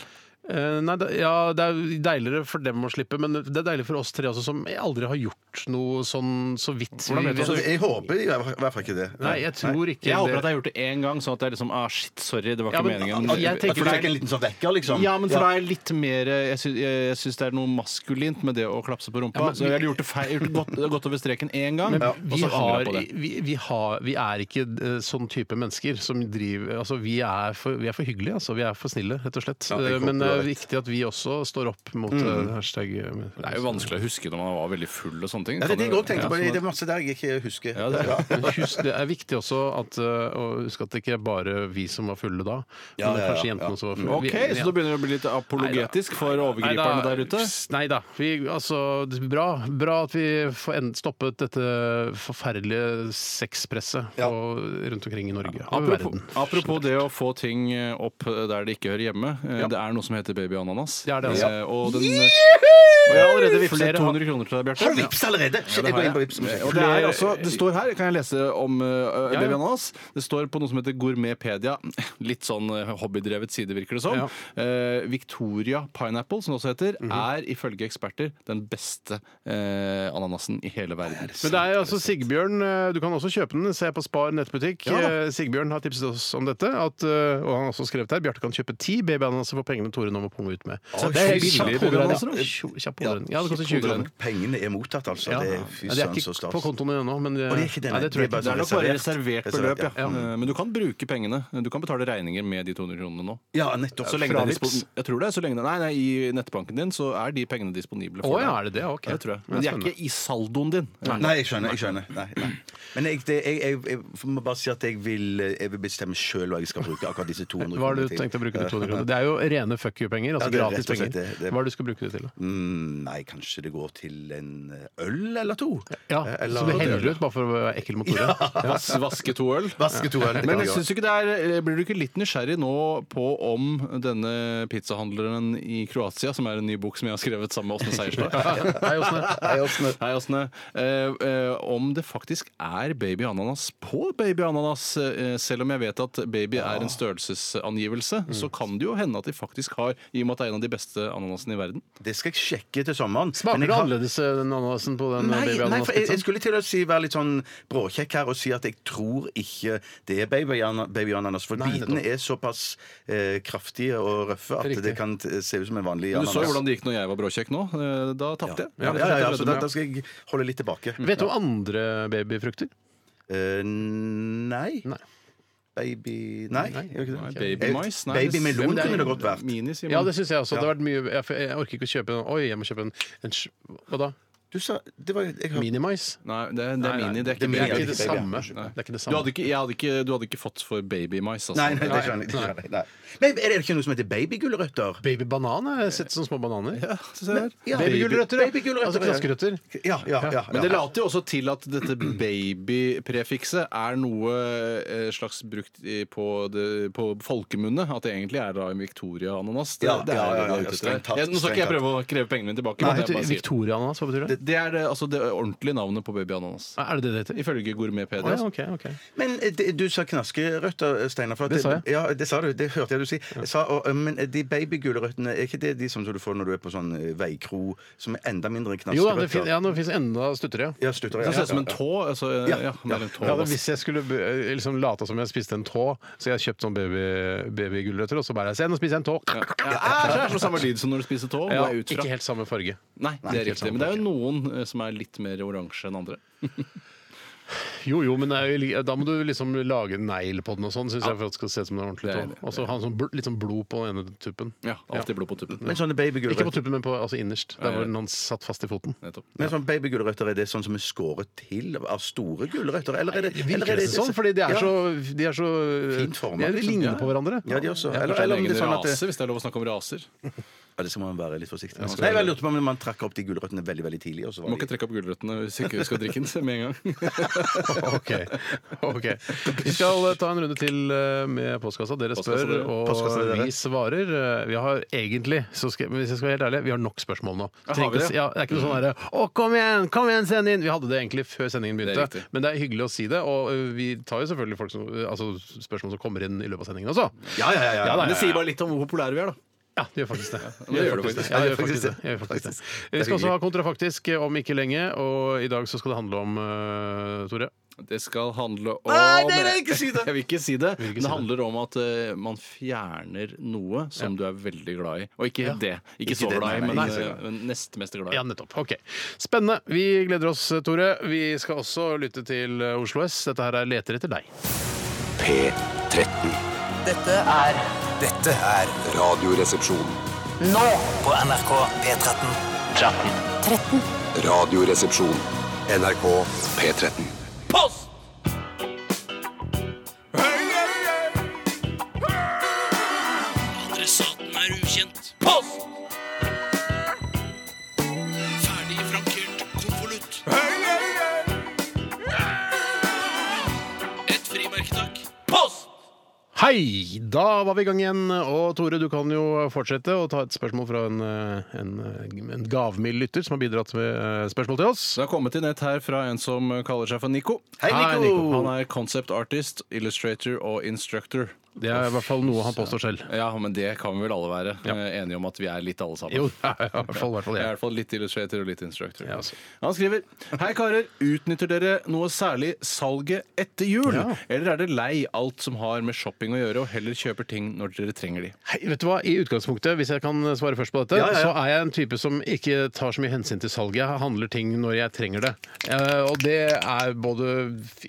Eh, nei, det, ja, det er jo deiligere for dem å slippe, men det er deilig for oss tre også, som aldri har gjort noe sånn så vidt. vi
vet du
vet.
Altså, jeg håper i hvert fall ikke det.
Nei, jeg tror ikke
Jeg håper at
det.
jeg har gjort det én gang, sånn at det er liksom ah, shit, sorry, det var
Ja,
ikke
men,
meningen.
ah, jeg tenker-
For det er ikke en liten sånn vekker, liksom.
Ja, men for da er jeg litt mer eh, Jeg syns, jeg, jeg syns det er noe maskulint med det å klapse på rumpa.
Ja, men
så jeg har gjort det feil, gjort det godt, det har gått over streken én gang,
Men
og
vi,
så angrer
har,
jeg på det.
vi, vi, har, vi er ikke eh, sånn type mennesker som driver altså, vi, er for, vi er for hyggelige, altså. Vi er for snille, rett og slett.
jeg
Eh,
håper
men
du
det
har
er
rett.
viktig at vi også står opp mot eh, hashtag
Mm. Det er jo vanskelig å huske når man var veldig full og sånne ting.
Ja, det er det jeg
Kan
også tenkte
ja,
på.
sånn
Det
at-
er masse der jeg ikke husker.
Ja, det er-
Men Husk, det er viktig også at, eh, å huske at det ikke er bare vi som var fulle da,
Ja,
men
ja, ja,
kanskje
ja.
jentene også var fulle.
Ok,
Vi-
så da begynner det å bli litt apologetisk for overgriperne der ute?
Nei da. Vi, altså, det er bra, bra at vi får end- stoppet dette forferdelige sexpresset på, rundt omkring i Norge og i
Apropos,
verden.
apropos det å få ting eh, opp der det ikke hører hjemme. eh, Det er noe som heter baby ananas.
Det er det, altså.
Eh, Og, den, og jeg har allerede vippset
Flere har-
200 kroner til deg, Bjarte.
Har du *laughs* vips allerede? Shit, jeg går inn på vips.
Og det, er også, det står her, kan jeg lese om uh,
Ja, ja.
Baby Ananas? Det står på noe som heter Gourmetpedia. *laughs* Litt sånn eh, hobbydrevet side, virker det som.
Ja.
Eh, Victoria Pineapple, som det også heter, er ifølge eksperter den beste eh, ananasen i hele verden.
Men det er altså Sigbjørn eh, Du kan også kjøpe den. Se på Spar nettbutikk.
Ja da.
Eh, Sigbjørn har tipset oss om dette. At, eh, og han har også skrevet her Bjarte kan kjøpe ti babyananas for pengene Tore nå må punge ut med. Så det er
billig
kjapp
babyananas,
hoderegning.
da.
Kjapp- kjapp hoderegning. Ja, det koster 20 kroner.
Pengene er mottatt, altså.
Ja.
Det
Ja,
er fy
det er
søren så
ikke på
stas.
kontoen din ennå, men eh,
Å, det er ikke det,
Nei,
nei.
det tror jeg
Det
ikke.
er
Det er nok bare reservert på
Reservert,
løp, ja.
ja.
Eh, Men du kan bruke pengene. Du kan betale regninger med de 200 kronene nå.
Ja, nettopp.
Så lenge det er
Fra Vipps.
dispo- jeg tror det. Så lenge det, nei, nei, I nettbanken din så er de pengene disponible
Å
for
ja,
deg.
er det det? Ok.
Ja, det tror jeg. Men de er
spennende.
ikke i saldoen din.
Nei, jeg skjønner. jeg skjønner nei, nei. Men jeg, det, jeg, jeg, jeg må bare si at jeg vil, eh, jeg vil bestemme sjøl hva jeg skal bruke akkurat disse 200
Hva har du
kronene til.
tenkt å bruke de 200 kronene? Det er jo rene fuck you-penger.
Ja,
Altså
det er
gratis
rett og slett
penger.
det- det-
Hva er det du skal bruke det til? da?
Mm, Nei, kanskje det går til en eh, øl eller to?
Ja, Så
Eller-
du heller ut bare for å være ekkel mot Tore? Ja.
Vas- Vaske to øl.
Vaske to øl. det kan
Men
jeg gjøre.
synes du ikke det er, eh, blir du ikke litt nysgjerrig nå på om denne pizzahandleren i Kroatia, som er en ny bok som jeg har skrevet sammen med Åsne
*laughs*
Seierstad
Hei, Åsne.
Nei, Åsne.
Hei, Åsne. Eh, eh, om det faktisk er baby ananas på baby ananas. Eh, selv om jeg vet at baby er en størrelsesangivelse,
Mm.
så kan det jo hende at de faktisk har, i og med at det er en av de beste ananasene i verden.
Det skal jeg sjekke til sommeren.
Smaker
Men
det
jeg har-
annerledes eh, den ananasen på den
Nei, nei for jeg, jeg
babyananas-pizzaen?
skulle til å si, være litt sånn bråkjekk her og si at jeg tror ikke det er babyana- babyananas. For
Nei,
bitene
nettopp.
er såpass eh, kraftige og røffe at
Riktig.
det kan t- se ut som en vanlig
Men du
ananas.
så jo hvordan det gikk når jeg var bråkjekk nå. Eh, da tapte jeg.
ja, altså, ja, ja, så da, da skal jeg holde litt tilbake.
Vet du om andre babyfrukter?
Eh, nei.
Nei.
Baby Nei.
Nei.
gjør ikke det.
Nei, Babymice? Nei, det-
Babymelon
Ja, men
kunne det godt vært.
Minis,
Ja, det syns jeg også. Det hadde vært mye jeg, jeg orker ikke å kjøpe en Oi, jeg må kjøpe en, en sj- Hva da?
Du sa det var, jeg, hørte-
Minimais?
Nei, det, det er
Nei, nei,
mini. Det er ikke
Det er
baby.
ikke det
baby, ja.
samme.
Nei.
Det er ikke det
Du hadde
samme.
ikke, jeg hadde ikke, du hadde ikke fått for babymais, altså.
Nei, nei, det skjønner jeg. Det skjønner jeg. Nei. Men er det ikke noe som heter babygulrøtter?
Babybanan har jeg eh, sett som små bananer.
Ja.
Babygulrøtter, ja.
Babygulrøtter,
Altså
ja.
klaskerøtter.
Ja, ja, ja, ja.
Men det later jo også til at dette baby-prefikset er noe eh, slags brukt i- på, det- på folkemunne. At det egentlig er da en Victoria-ananas. Det,
Ja,
det er
ja, ja,
det
ja,
det er ute
strengt tatt,
etter. Ja, Nå skal ikke jeg
strengt
prøve å kreve pengene mine tilbake.
Hva
men jeg
betyr
bare sier-
Victoria-ananas? Hva betyr det?
det er det, altså det ordentlige navnet på baby-ananas.
Er det det det heter?
Ifølge gourmetpedia.
Å, ja,
altså.
ok, ok.
Men eh, det- du sa knaskerøtter, Steinar. for at
Det sa jeg.
Ja, det sa du. Det hørte jeg du si. Jeg sa, og, eh, men de babygulrøttene, er ikke det de som du får når du er på sånn eh, veikro, som er enda mindre enn
Jo da, det fin
knaskerøtter?
ja, nå fins enda stuttere. ja.
Ja, slutter, ja.
Det ser ut som
ja,
en tå. Altså,
Ja,
ja, mellom tå
Ja, da,
og-
hvis jeg skulle eh, liksom late som jeg spiste en tå, så jeg kjøpt sånn baby- babygulrøtter, og så bare Se, nå spiser jeg en tå!
Ja, æsj, æsj, og samme lyd som når du spiser tå.
Ja,
går jeg ut fra.
ikke helt samme farge.
Nei, det er riktig. Men det er jo noen eh, som er litt mer oransje enn andre.
Jo, jo, men det er jo, li- da må du liksom lage en negl på den og sånn, syns jeg, for at det skal se ut som det er
Det
ordentlig.
er
tå.
det.
Og så ha sånn bl- litt sånn blod på den ene tuppen.
Ja, alltid blod på tuppen.
Men sånne
Ikke på
babygulrøtter
tuppen, men på, altså innerst. Der hvor han satt fast i foten.
Nettopp.
Men sånn babygulrøtter, er det sånn som er skåret til av store gulrøtter? Eller er det, eller
Virker
er
det sånn? Fordi de er
Ja.
så, de er så
Fint formet,
Ja, De
liksom.
ligner på hverandre.
Ja, de også.
Ja,
Eller,
kanskje en
eller om det
egen
er sånn at
rase,
det,
hvis det er lov å snakke om raser.
ja, det skal man være litt forsiktig med. Nei, jeg lurte på om man trakk opp de gulrøttene veldig veldig tidlig. Og
Du
så
må
var
ikke
de...
trekke opp gulrøttene hvis ikke du skal drikke den med en gang.
*laughs* OK. ok
*laughs*
Vi skal eh, ta en runde til eh, med postkassa. Dere
Postkassa,
spør,
dere.
Postkassa,
og
dere.
vi svarer. Eh, Vi har egentlig, så skal, men hvis jeg skal være helt ærlig, vi har nok spørsmål nå.
Ja, har vi
Trenger ikke å
det? Mm.
si- ja, det er ikke noe sånn derre Å, kom igjen! Kom igjen, send inn! Vi hadde det egentlig før sendingen
Det er
begynte.
riktig.
men det er hyggelig å si det. Og eh, vi tar jo selvfølgelig folk som, eh, altså, spørsmål som kommer inn i løpet av sendingen også.
Ja, ja, ja, ja.
*laughs* Men det sier bare litt om hvor populære vi er, da.
Ja, det gjør faktisk det.
det gjør det faktisk.
Ja, det gjør faktisk det. Det gjør faktisk det. Vi skal også ha kontrafaktisk eh, om ikke lenge, og i dag så skal det handle om eh, Tore.
Det skal handle om
Nei, nei, nei, ikke si det!
*laughs* Jeg vil ikke si det. Men
si
det handler om at eh, man fjerner noe som du er veldig glad i. Og ikke det. Ikke, så
det,
glad i,
nei, nei,
men,
ikke så
eh, men nest mest glad i.
Ja, nettopp. Ok. Spennende. Vi gleder oss, Tore. Vi skal også lytte til eh, Oslo S. Dette her er Leter etter deg.
P13.
Dette er
Dette er
Radioresepsjon.
nå på NRK P13.
Radioresepsjon. NRK P13.
Post! Adressaten er ukjent. Post! Ferdig frankert konvolutt. Et frimerke, takk. Post!
Hei! Da var vi i gang igjen. Og Tore, du kan jo fortsette å ta et spørsmål fra en, eh, en, eh, en gavmild lytter som har bidratt med eh, spørsmål til oss.
Så det har kommet inn et her fra en som kaller seg for Nico.
Hei, Nico!
Han er concept artist, illustrator og instructor.
Det er i hvert fall noe han påstår selv.
Ja, men det kan vi vel alle være eh, enige om at vi er litt alle sammen.
Jo, det er i hvert fall, i hvert fall
Jeg er i
jeg.
hvert fall litt illustrator og litt instructor.
Ja, altså.
Han skriver Hei, karer. Utnytter dere noe særlig salget etter jul? Eller er det lei alt som har med shopping å gjøre, og heller kjøper ting når dere trenger de?
Hei, vet du hva? I utgangspunktet, hvis jeg kan svare først på dette, så er jeg en type som ikke tar så mye hensyn til salget. Jeg handler ting når jeg trenger det. Eh, og det er både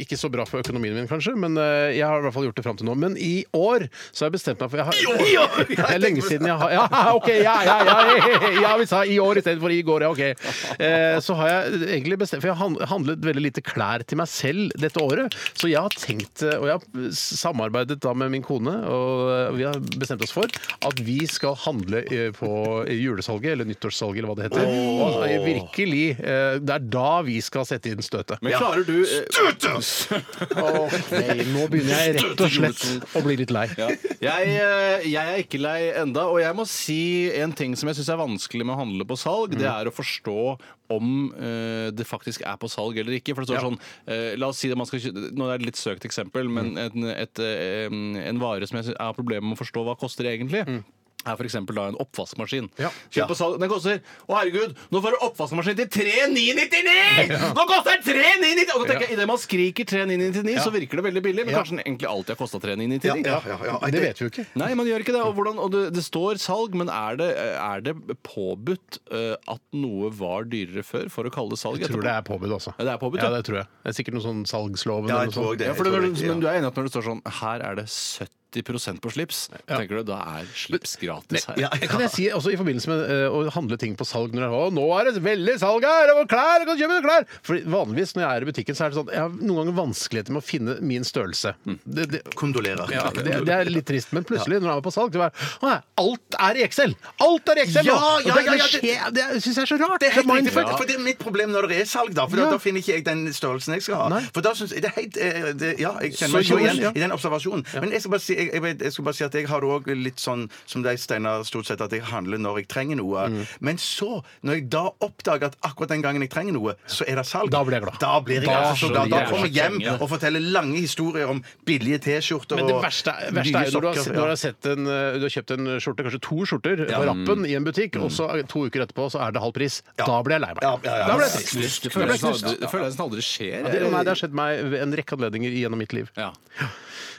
ikke så bra for økonomien min, kanskje, men eh, jeg har i hvert fall gjort det fram til nå. Men i år så har jeg bestemt meg for jeg har, I år! *laughs* Det er lenge siden jeg har Ja, *laughs* OK! Ja, ja, ja! ja, ja vi sa i år istedenfor i går, ja, OK. Eh, så har jeg egentlig bestemt For jeg har hand- handlet veldig lite klær til meg selv dette året, så jeg har tenkt eh, Og jeg har samarbeidet da med min kone, og eh, vi har bestemt oss for at vi skal handle eh, på julesalget, eller nyttårssalget, eller hva det heter. Og eh, virkelig eh, Det er da vi skal sette inn støtet.
Men klarer du eh, *laughs*
Nei, nå begynner jeg rett og slett å bli litt lei.
Ja. Jeg, eh, jeg er ikke lei enda, og jeg må si en ting som jeg syns er vanskelig med å handle på salg. Det
Mm.
er å forstå om eh, det faktisk er på salg eller ikke. For det står sånn, eh, La oss si det man skal kjø- Nå er det et litt søkt eksempel, men
Mm.
en, et, eh, en vare som jeg sy- har problemer med å forstå hva koster egentlig. Er for eksempel da en oppvaskmaskin.
Mm. Ja.
Kjøp på salg, Den koster Å, herregud, nå får du oppvaskmaskin til 3999! Nå koster den 3999! Og da tenker jeg, Idet man skriker 3999, så virker det veldig billig, men
Ja.
kanskje den egentlig alltid har kosta 3999.
Det vet vi jo ikke.
Nei, man gjør ikke det. Og, hvordan, og det, det står salg, men er det, er det påbudt eh, at noe var dyrere før for å kalle det salg?
Jeg tror
etterpå?
det er påbud, altså.
Ja, det er påbud,
ja.
ja.
det tror jeg. Det er sikkert noe sånn salgsloven
Ja, jeg
eller noe
tror
sånt.
det.
ja, for det,
Jeg tror det, ja.
Men du er enig at når det står sånn her er det 70 på slips, tenker du da er slips gratis her.
Ja, Kan jeg si, også I forbindelse med eh, å handle ting på salg når det er, å, nå er det veldig salg her! Og klær! Du kan kjøpe klær! Fordi Vanligvis når jeg er i butikken, så er det sånn jeg har noen ganger vanskeligheter med å finne min størrelse.
Mm.
Det, det,
Kondolerer.
ja, det, det er litt trist, men plutselig, når jeg er på salg, det er, å, nei, alt er i Excel! Alt er i Excel!
Ja,
nå! Og
ja,
det,
ja,
det,
ja,
skjer- det, syns jeg er så rart!
Det er helt riktig, for,
mindfuck.
for det er mitt problem når det er salg, da. For
Ja.
da, da finner ikke jeg den størrelsen jeg skal ha.
Nei.
For da synes jeg det er helt eh, det, Ja, jeg
Så
kjenner meg ikke
jo,
igjen
ja.
i den observasjonen. Men jeg skal bare si, jeg, jeg, vet- jeg skal bare si at jeg har det òg litt sånn som deg, Steinar, stort sett at jeg handler når jeg trenger noe.
Mm.
Men så, når jeg da oppdager at akkurat den gangen jeg trenger noe, så er det salg.
Da blir jeg glad.
Da blir jeg
Da
altså så glad. Da
skjønner jeg.
kommer jeg hjem
Ja.
og forteller lange historier om billige T-skjorter
Men det
og
verste, verste
dyre
er jo når du har,
sokker,
når du
ja.
har, sett en, eh, du har kjøpt en skjorte, kanskje to skjorter, på rappen i en butikk, og så eh, to uker etterpå så er det halv pris. Da blir jeg lei meg.
Mm. Ja, ja, ja.
Da blir jeg
Knust. Det
trist.
føles som aldri- det føles som aldri skjer.
Ja, det, nei, det har skjedd meg ved en rekke anledninger gjennom mitt liv.
Ja.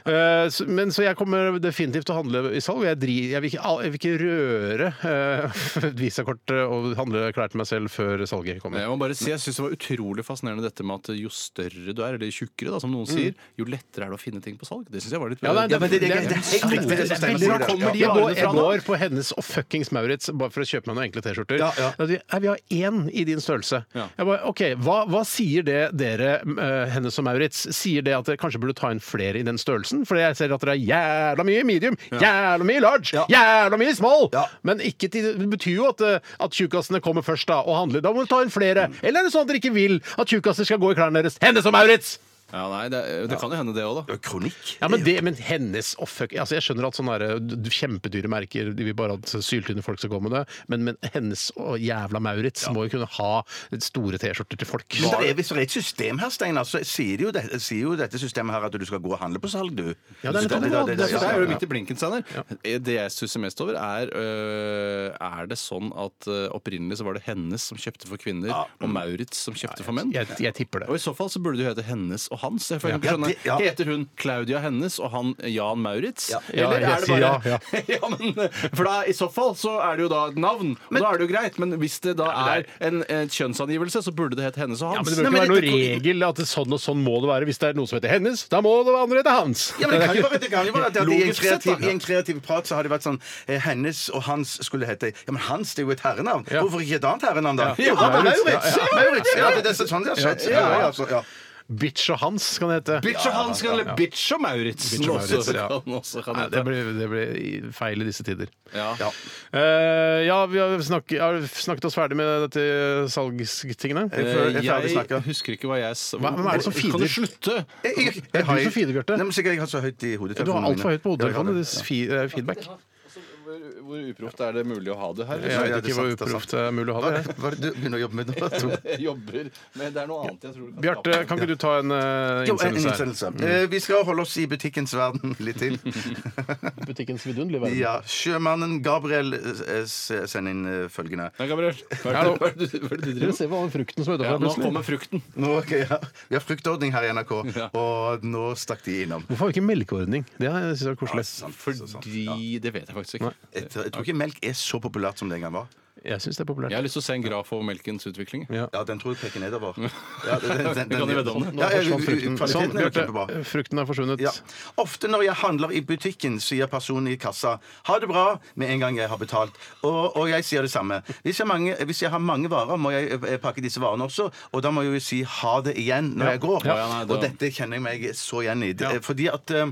Eh, så- Men så jeg kommer definitivt til å handle i salg. og Jeg, dri, jeg, vil, ikke, al- jeg vil ikke røre eh, *laughs* visakortet og handle klær til meg selv før salget kommer.
Jeg må bare si, jeg syns det var utrolig fascinerende dette med at jo større du er, eller tjukkere, da, som noen sier, jo lettere er det å finne ting på salg. Det syns jeg var litt
Ja, nei,
Ja, men det- det- det- det er helt riktig, det som Steinar sier.
Hvor kommer de
Ja.
varene fra? Jeg går på Hennes og fuckings Maurits bare for å kjøpe meg noen enkle T-skjorter.
Ja, ja.
Da sier de, «Nei, Vi har én i din størrelse.
Ja.
Jeg bare, ok, hva, hva sier det dere, eh, Hennes og Maurits? Sier det at dere kanskje burde ta inn flere i den størrelsen? For jeg ser at dere er jævla mye medium, jævla mye large, jævla mye small!
Ja.
Men ikke til, det betyr jo at, eh, at tjukkasene kommer først da og handler. Da må du ta inn flere.
Mm.
Eller er det sånn at dere ikke vil at tjukkaser skal gå i klærne deres? Hennes og Maurits!
Ja, nei, det, det kan jo hende, det òg, da.
Kronikk?
Ja, men, det, men hennes og fuck, altså Jeg skjønner at sånne der, d- d- kjempedyre merker De vil bare at syltynne folk skal gå med det, men, men hennes og jævla Maurits må jo kunne ha store T-skjorter til folk.
Men det er, hvis det er et system her, Steinar, så sier, de jo det, sier jo dette systemet her at du skal gå og handle på salg, du.
Ja, det er litt
Så
annerledes.
det- det-
Det er,
det-
så der er
ja,
du
ja.
midt i blinken, Steinar. Eh, Det jeg stusser mest over, er øh, Er det sånn at øh, opprinnelig så var det hennes som kjøpte for kvinner, og Maurits som kjøpte for menn?
Jeg, jeg tipper
Og
det.
I så fall så burde det jo hete Hennes og Hans. Jeg får ikke
Ja,
skjønne.
det- ja.
Heter hun Claudia Hennes og han Jan Maurits?
Ja,
Eller
jeg
er det bare
sier ja, ja.
*laughs* Ja, men, For da, i så fall så er det jo da et navn, og da er det jo greit. Men hvis det da er en, en kjønnsangivelse, så burde det hete Hennes og
Ja, men
Hans.
Det bør ikke
Nei, men
være noen
det-
regel at det sånn og sånn må det være. Hvis det er noe som heter hennes, da må det andre hete hans.
Ja, men det kan jo
ikke-
være, det kan jo være at det- i en,
Logisk sett,
kreativ,
da.
I en kreativ prat så har det vært sånn eh, Hennes og hans skulle hete Ja, men hans det er jo et herrenavn. Hvorfor ikke et annet herrenavn, da?
Ja.
Jo, da,
Maurits,
Maurits!
ja,
Ja, Maurits. ja, det er sånn det har skjedd. Ja, ja, altså, ja.
Bitch og Hans kan det hete.
Bitch og Hans, eller Bitch og Maurits.
Bitch og
også
Maurits, ja.
kan- også kan
Nei,
hete.
det blir, det blir i- feil i disse tider.
Ja.
Eh, ja, vi har snakket, har snakket oss ferdig med dette salgstingene.
Jeg føler- Eh, jeg føler vi
Jeg,
snakker.
husker ikke hva jeg sa.
Hva- hvem er det som feeder?
Kan du slutte?
Jeg- jeg- jeg-
Det er du som feeder, Bjarte.
Nei, men sikkert jeg har så høyt i hodetelefonene.
Du har altfor høyt på
mine. Ja, jeg har
hodetelefonen.
det.
det er fi- eh, Feedback.
Hvor, hvor uproft er det mulig å ha det her?
Jeg
Ja,
vet
det er
ikke hvor
sant, det er sant.
uproft det er mulig å ha
Hva
det.
er det- hva er det du begynner å
*laughs*
jobbe med nå?
Jeg jobber, men det er noe annet jeg tror du kan
Bjarte, kan ikke du ta en eh,
Jo, en
innsendelse? Mm. her?
innsendelse. Eh, Vi skal holde oss i butikkens verden litt til.
Butikkens vidunderlige verden.
Ja, Sjømannen Gabriel eh, s- sender inn eh, følgende.
Nei, Gabriel. Hva
Hallo.
er det du hva er det du driver
Dere
med?
ser hva den frukten som er
Ja,
utenfor
nå
plutselig.
kommer frukten.
Nå, ok, ja. Vi har fruktordning her i NRK,
*laughs*
og nå stakk de innom.
Hvorfor har vi ikke melkeordning? Det er- synes jeg er koselig.
Fordi Det vet jeg faktisk ikke.
Jeg tror, jeg tror ikke melk er så populært som det en gang var.
Jeg syns det er
Jeg
populært.
har lyst til å se en graf over melkens utvikling.
Ja.
Ja, den tror jeg peker nedover. Ja, den, den,
*laughs*
den,
Vi kan jo vedde om det.
Nå
Ja, ja,
forsvant frukten. Sånn,
kvaliteten er jo kjempebra.
Bjarte. Frukten er forsvunnet.
Ja. Ofte når jeg handler i butikken, sier personen i kassa 'ha det bra' med en gang jeg har betalt. Og, og jeg sier det samme. Hvis jeg, mange, hvis jeg har mange varer, må jeg eh, pakke disse varene også, og da må jeg jo si 'ha det' igjen når jeg går.
Ja, ja, nei, det-
Og dette kjenner jeg meg så igjen i. Det- Fordi at eh,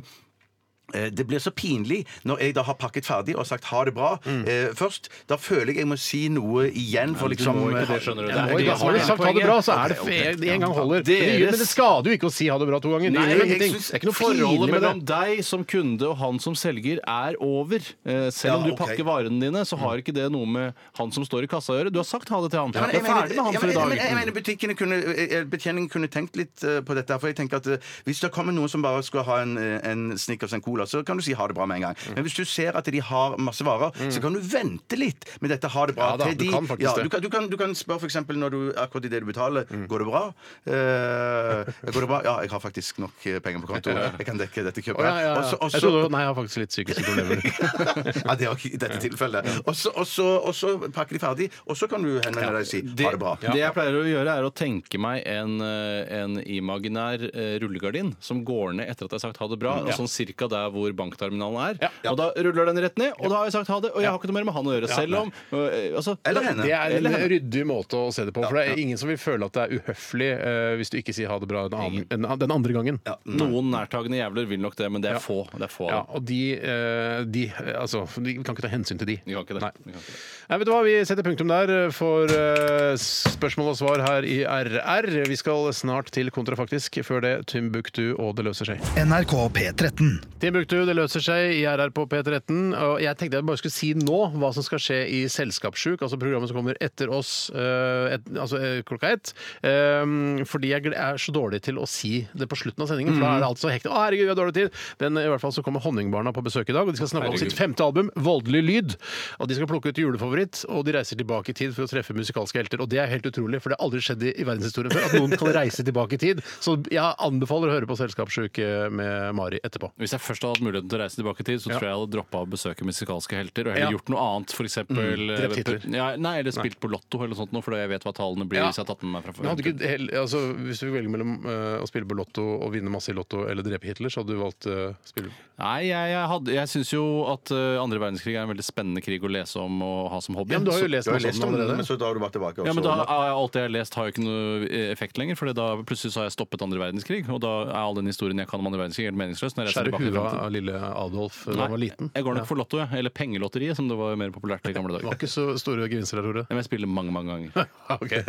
eh, det blir så pinlig når jeg da har pakket ferdig og sagt ha det bra eh, først. Da føler jeg jeg må si noe igjen
Mm.
for
Du
liksom
må ikke det, skjønner du. Det
Oi,
er
da
det som
har
er
du
hele
sagt ha det
poenget.
bra, så er det én gang holder. Men det gjør-
Deres-
Men det skader jo ikke å si ha det bra to ganger. Det
Nei,
gjør
jeg
ingenting.
synes
Det er ikke noe pinlig
Forholdet
med
mellom
det.
deg som kunde og han som selger er over. Eh,
Ja,
Selv om du
ok.
pakker varene dine, så
Mm.
har ikke det noe med han som står i kassa å gjøre. Du har sagt ha det til han.
Ja, men
Du er ferdig med han
jeg,
for i
mener- jeg
dag.
mener butikkene kunne, eh, betjeningen kunne tenkt litt eh, på dette. her, For jeg tenker at eh, Hvis det kommer noen som bare skal ha en, eh, en Snickers og en Cola, så kan du si ha det bra med en gang.
Mm.
Men hvis du ser at de har masse varer, så kan du vente litt med dette ha det bra.
Ja da,
til
du
de,
kan faktisk
ja,
det. Mm.
Du kan, du kan, du kan spørre f.eks. når du akkurat i det du betaler, går det bra? Eh, går det bra? Ja, jeg har faktisk nok eh, penger på konto. Jeg kan dekke dette kjøpet.
Å, ja, ja, ja.
Også- også-
Jeg trodde Nei, jeg har faktisk litt psykiske problemer.
*laughs* ja, det var ikke i dette tilfellet. Og så- Og så og så pakker de ferdig, og så kan du henvende deg og si ha det bra.
det jeg pleier å gjøre, er å tenke meg en, eh, en imaginær eh, rullegardin som går ned etter at jeg har sagt ha det bra,
Mm,
og sånn cirka der hvor bankterminalen er. Og da ruller den rett ned, og da har jeg sagt ha det, og jeg har ikke noe mer med han å gjøre, selv om eh, altså,
Eller henne.
Det er en
Eller henne.
ryddig måte å se det på. For det er ingen som vil føle at det er uhøflig eh, hvis du ikke sier ha det bra den, annen, en- den andre gangen.
Noen nærtagende jævler vil nok det, men det er få. Det er få av
Ja,
dem.
og de, eh, de eh, Altså, vi kan ikke ta hensyn til de.
Vi kan ikke det.
Nei.
Vi kan ikke det.
Nei, vet du hva, Vi setter punktum der for eh, spørsmål og svar her i RR. Vi skal snart til Kontrafaktisk. Før det Timbuktu og Det løser seg.
NRK P13.
Timbuktu, Det løser seg i RR på P13. Og jeg tenkte jeg bare skulle si nå hva som skal skje i Selskapssjuk, altså programmet som kommer etter oss eh, et, altså eh, klokka ett. Eh, fordi jeg gle- er så dårlig til å si det på slutten av sendingen, for da er det alt så hektisk. Å, herregud, vi har dårlig tid! Den, I hvert fall så kommer Honningbarna på besøk i dag, og de skal snakke om sitt femte album, Voldelig lyd. Og de skal plukke ut julefavoritt favoritt, og de reiser tilbake i tid for å treffe musikalske helter. Og det er helt utrolig, for det har aldri skjedd i, i verdenshistorien før at noen kan reise tilbake i tid. Så jeg anbefaler å høre på Selskapssjuk eh, med Mari etterpå.
Hvis jeg først hadde hatt muligheten til å reise tilbake i tid, så
Ja.
tror jeg jeg hadde droppa å besøke musikalske helter og heller
Ja.
gjort noe annet. For eksempel, eh,
drept Hitler.
Ja, nei, eller spilt på Lotto eller noe sånt, nå, for jeg vet hva tallene blir
Ja.
hvis jeg har tatt med meg fra
Men
før.
hadde ikke hel- altså, hvis du velger mellom eh, å spille på Lotto og vinne masse i Lotto eller drepe Hitler, så hadde du valgt uh, spille
Nei, jeg, jeg, hadde- jeg syns jo at eh, andre verdenskrig er en veldig spennende krig å lese om og ha som hobby.
Ja, men du har
Så-
jo lest
Du har
masse om
lest om
den
den, men
allerede.
så drar du bare tilbake. og
Ja, men
så-
da, er alt det jeg har lest, har jo ikke noe eh, effekt lenger. For da plutselig så har jeg stoppet andre verdenskrig, og da er all den historien jeg kan om andre verdenskrig, helt meningsløs. Når jeg reiser
Skjære
tilbake i
huet
fremtiden.
av lille Adolf eh, da
Nei,
han var liten.
Jeg går nok for Lotto, jeg. Eller Pengelotteriet, som det var mer populært i gamle
Det var
dager.
ikke så store gevinster der, Tore. *laughs*
Men jeg spiller mange, mange ganger.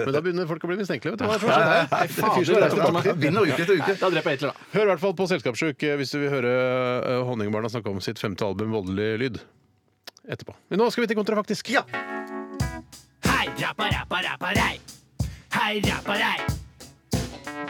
Men da begynner folk å bli mistenkelige. Vet du hva er forskjellen her? Det er fyr som
Det
reiser
er
tilbake.
alltid Vinner uke etter uke.
Da dreper jeg Hitler, da.
Hør i hvert fall på Selskapssjuk eh, hvis du vil høre eh, Honningbarna snakke om sitt femte album, Voldelig lyd. Etterpå. Men nå skal vi til kontrafaktisk. Ja.
Hei, rappa, rappa, rappa, rei. Hei, rappa, rei.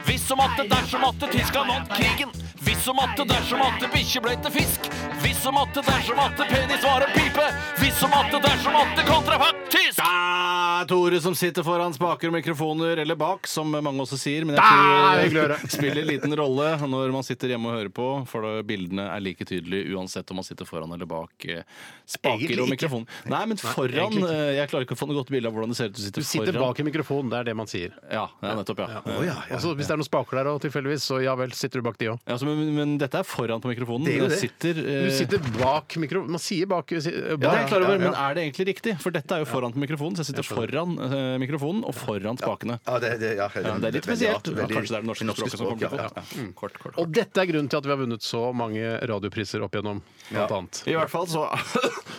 Hvis som atte, dersom atte, tyska vant krigen. Hvis som atte, dersom atte, bikkje ble til fisk. Hvis som atte, dersom atte, penis var en pipe. Hvis som atte, dersom atte, kontrafaktisk.
Ah, Tore som sitter foran spaker og mikrofoner, eller bak, som mange også sier. Men jeg tror det *laughs* spiller liten rolle når man sitter hjemme og hører på, for da bildene er like tydelige uansett om man sitter foran eller bak eh, spaker
Egentlig
og
ikke.
mikrofon. Nei, men foran
egentlig ikke.
eh, Jeg klarer ikke å få noe godt bilde av hvordan det ser ut du sitter,
Du sitter
foran.
bak i mikrofonen, det er det man sier.
Ja, ja, nettopp, ja.
Oh, Altså, hvis det er noen spaker der òg, tilfeldigvis, så ja vel, sitter du bak de òg.
Ja, altså, men, men dette er foran på mikrofonen.
Det er jo
Jeg
det.
Sitter, eh,
Du sitter bak mikro... Man sier bak, si-
ja,
bak.
det er jeg klar over,
Ja, ja.
Men er det egentlig riktig? For dette er jo foran på mikrofonen, så jeg sitter foran eh, mikrofonen og foran spakene.
Ja, det, det, ja,
Ja, det er litt
veldig rart.
spesielt. Ja,
Veldig-
kanskje det er det norske språket som kommer til
ja,
kort.
ja.
Ja. Mm, Kort, kort,
Og dette er grunnen til at vi har vunnet så mange radiopriser opp igjennom, blant annet.
I hvert fall så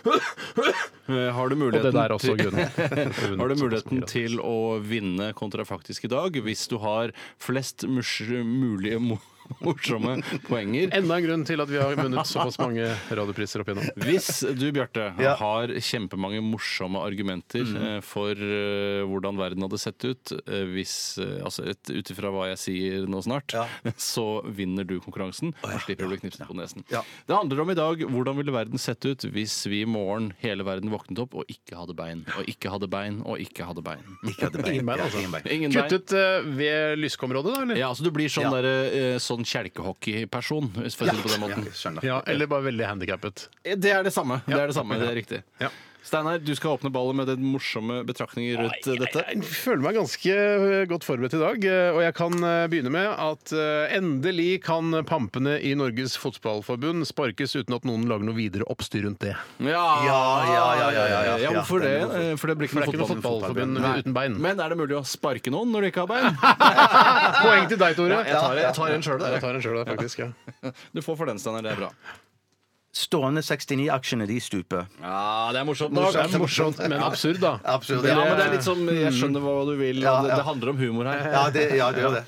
Eh, har du
Og det
muligheten
der er også grunnen.
*laughs* Har du muligheten til å vinne kontrafaktisk i dag hvis du har flest murs- mulige mo- *laughs* morsomme poenger?
Enda en grunn til at vi har vunnet såpass mange
*laughs*
radiopriser opp igjennom.
Hvis du, Bjarte,
Ja. Mm.
har kjempemange morsomme argumenter eh, for eh, hvordan verden hadde sett ut eh, hvis eh, Altså ut ifra hva jeg sier nå snart, *laughs* så vinner du konkurransen og slipper å bli knipset på nesen.
Ja.
Det handler om i dag hvordan ville verden sett ut hvis vi i morgen hele verden våknet opp og ikke hadde bein, og ikke hadde bein, og ikke hadde bein.
Ikke hadde bein.
Ingen bein,
Ja,
altså.
ingen bein.
*laughs* Ingen bein.
Kuttet eh, ved lyskeområdet, da? eller?
Ja, altså Du blir sånn, derre, eh, sånn kjelkehockeyperson, hvis jeg får si det på den måten.
Ja, skjønner.
Ja, eller bare veldig handikappet.
Eh, Det er det samme. Det er det samme, det er riktig.
Ja.
Steinar, du skal åpne ballet med den morsomme betraktningen rundt eh, dette.
Jeg føler meg ganske eh, godt forberedt i dag, eh, og jeg kan eh, begynne med at eh, endelig kan pampene i Norges Fotballforbund sparkes uten at noen lager noe videre oppstyr rundt det.
Ja,
ja, ja, ja, ja, ja.
Hvorfor
Ja,
det?
den er hvorfor.
Eh, For det blir
For det
ikke
er ikke
noe
noe fotballforbund
Nei.
uten bein.
Men er det mulig å sparke noen når du ikke har *laughs* bein?
*laughs* Poeng til deg, Tore.
Jeg tar, jeg tar en sjøl,
Jeg tar en sjøl, faktisk. ja.
Du får for den, Steinar. Det er bra.
Stående 69-aksjene, de stuper.
Ja, det er morsomt.
Det er morsomt, men absurd, da.
Absolutt.
Ja, men det er litt som Jeg skjønner hva du vil.
Ja,
og Det,
ja.
det handler om humor her.
Ja, det, ja, det gjør det.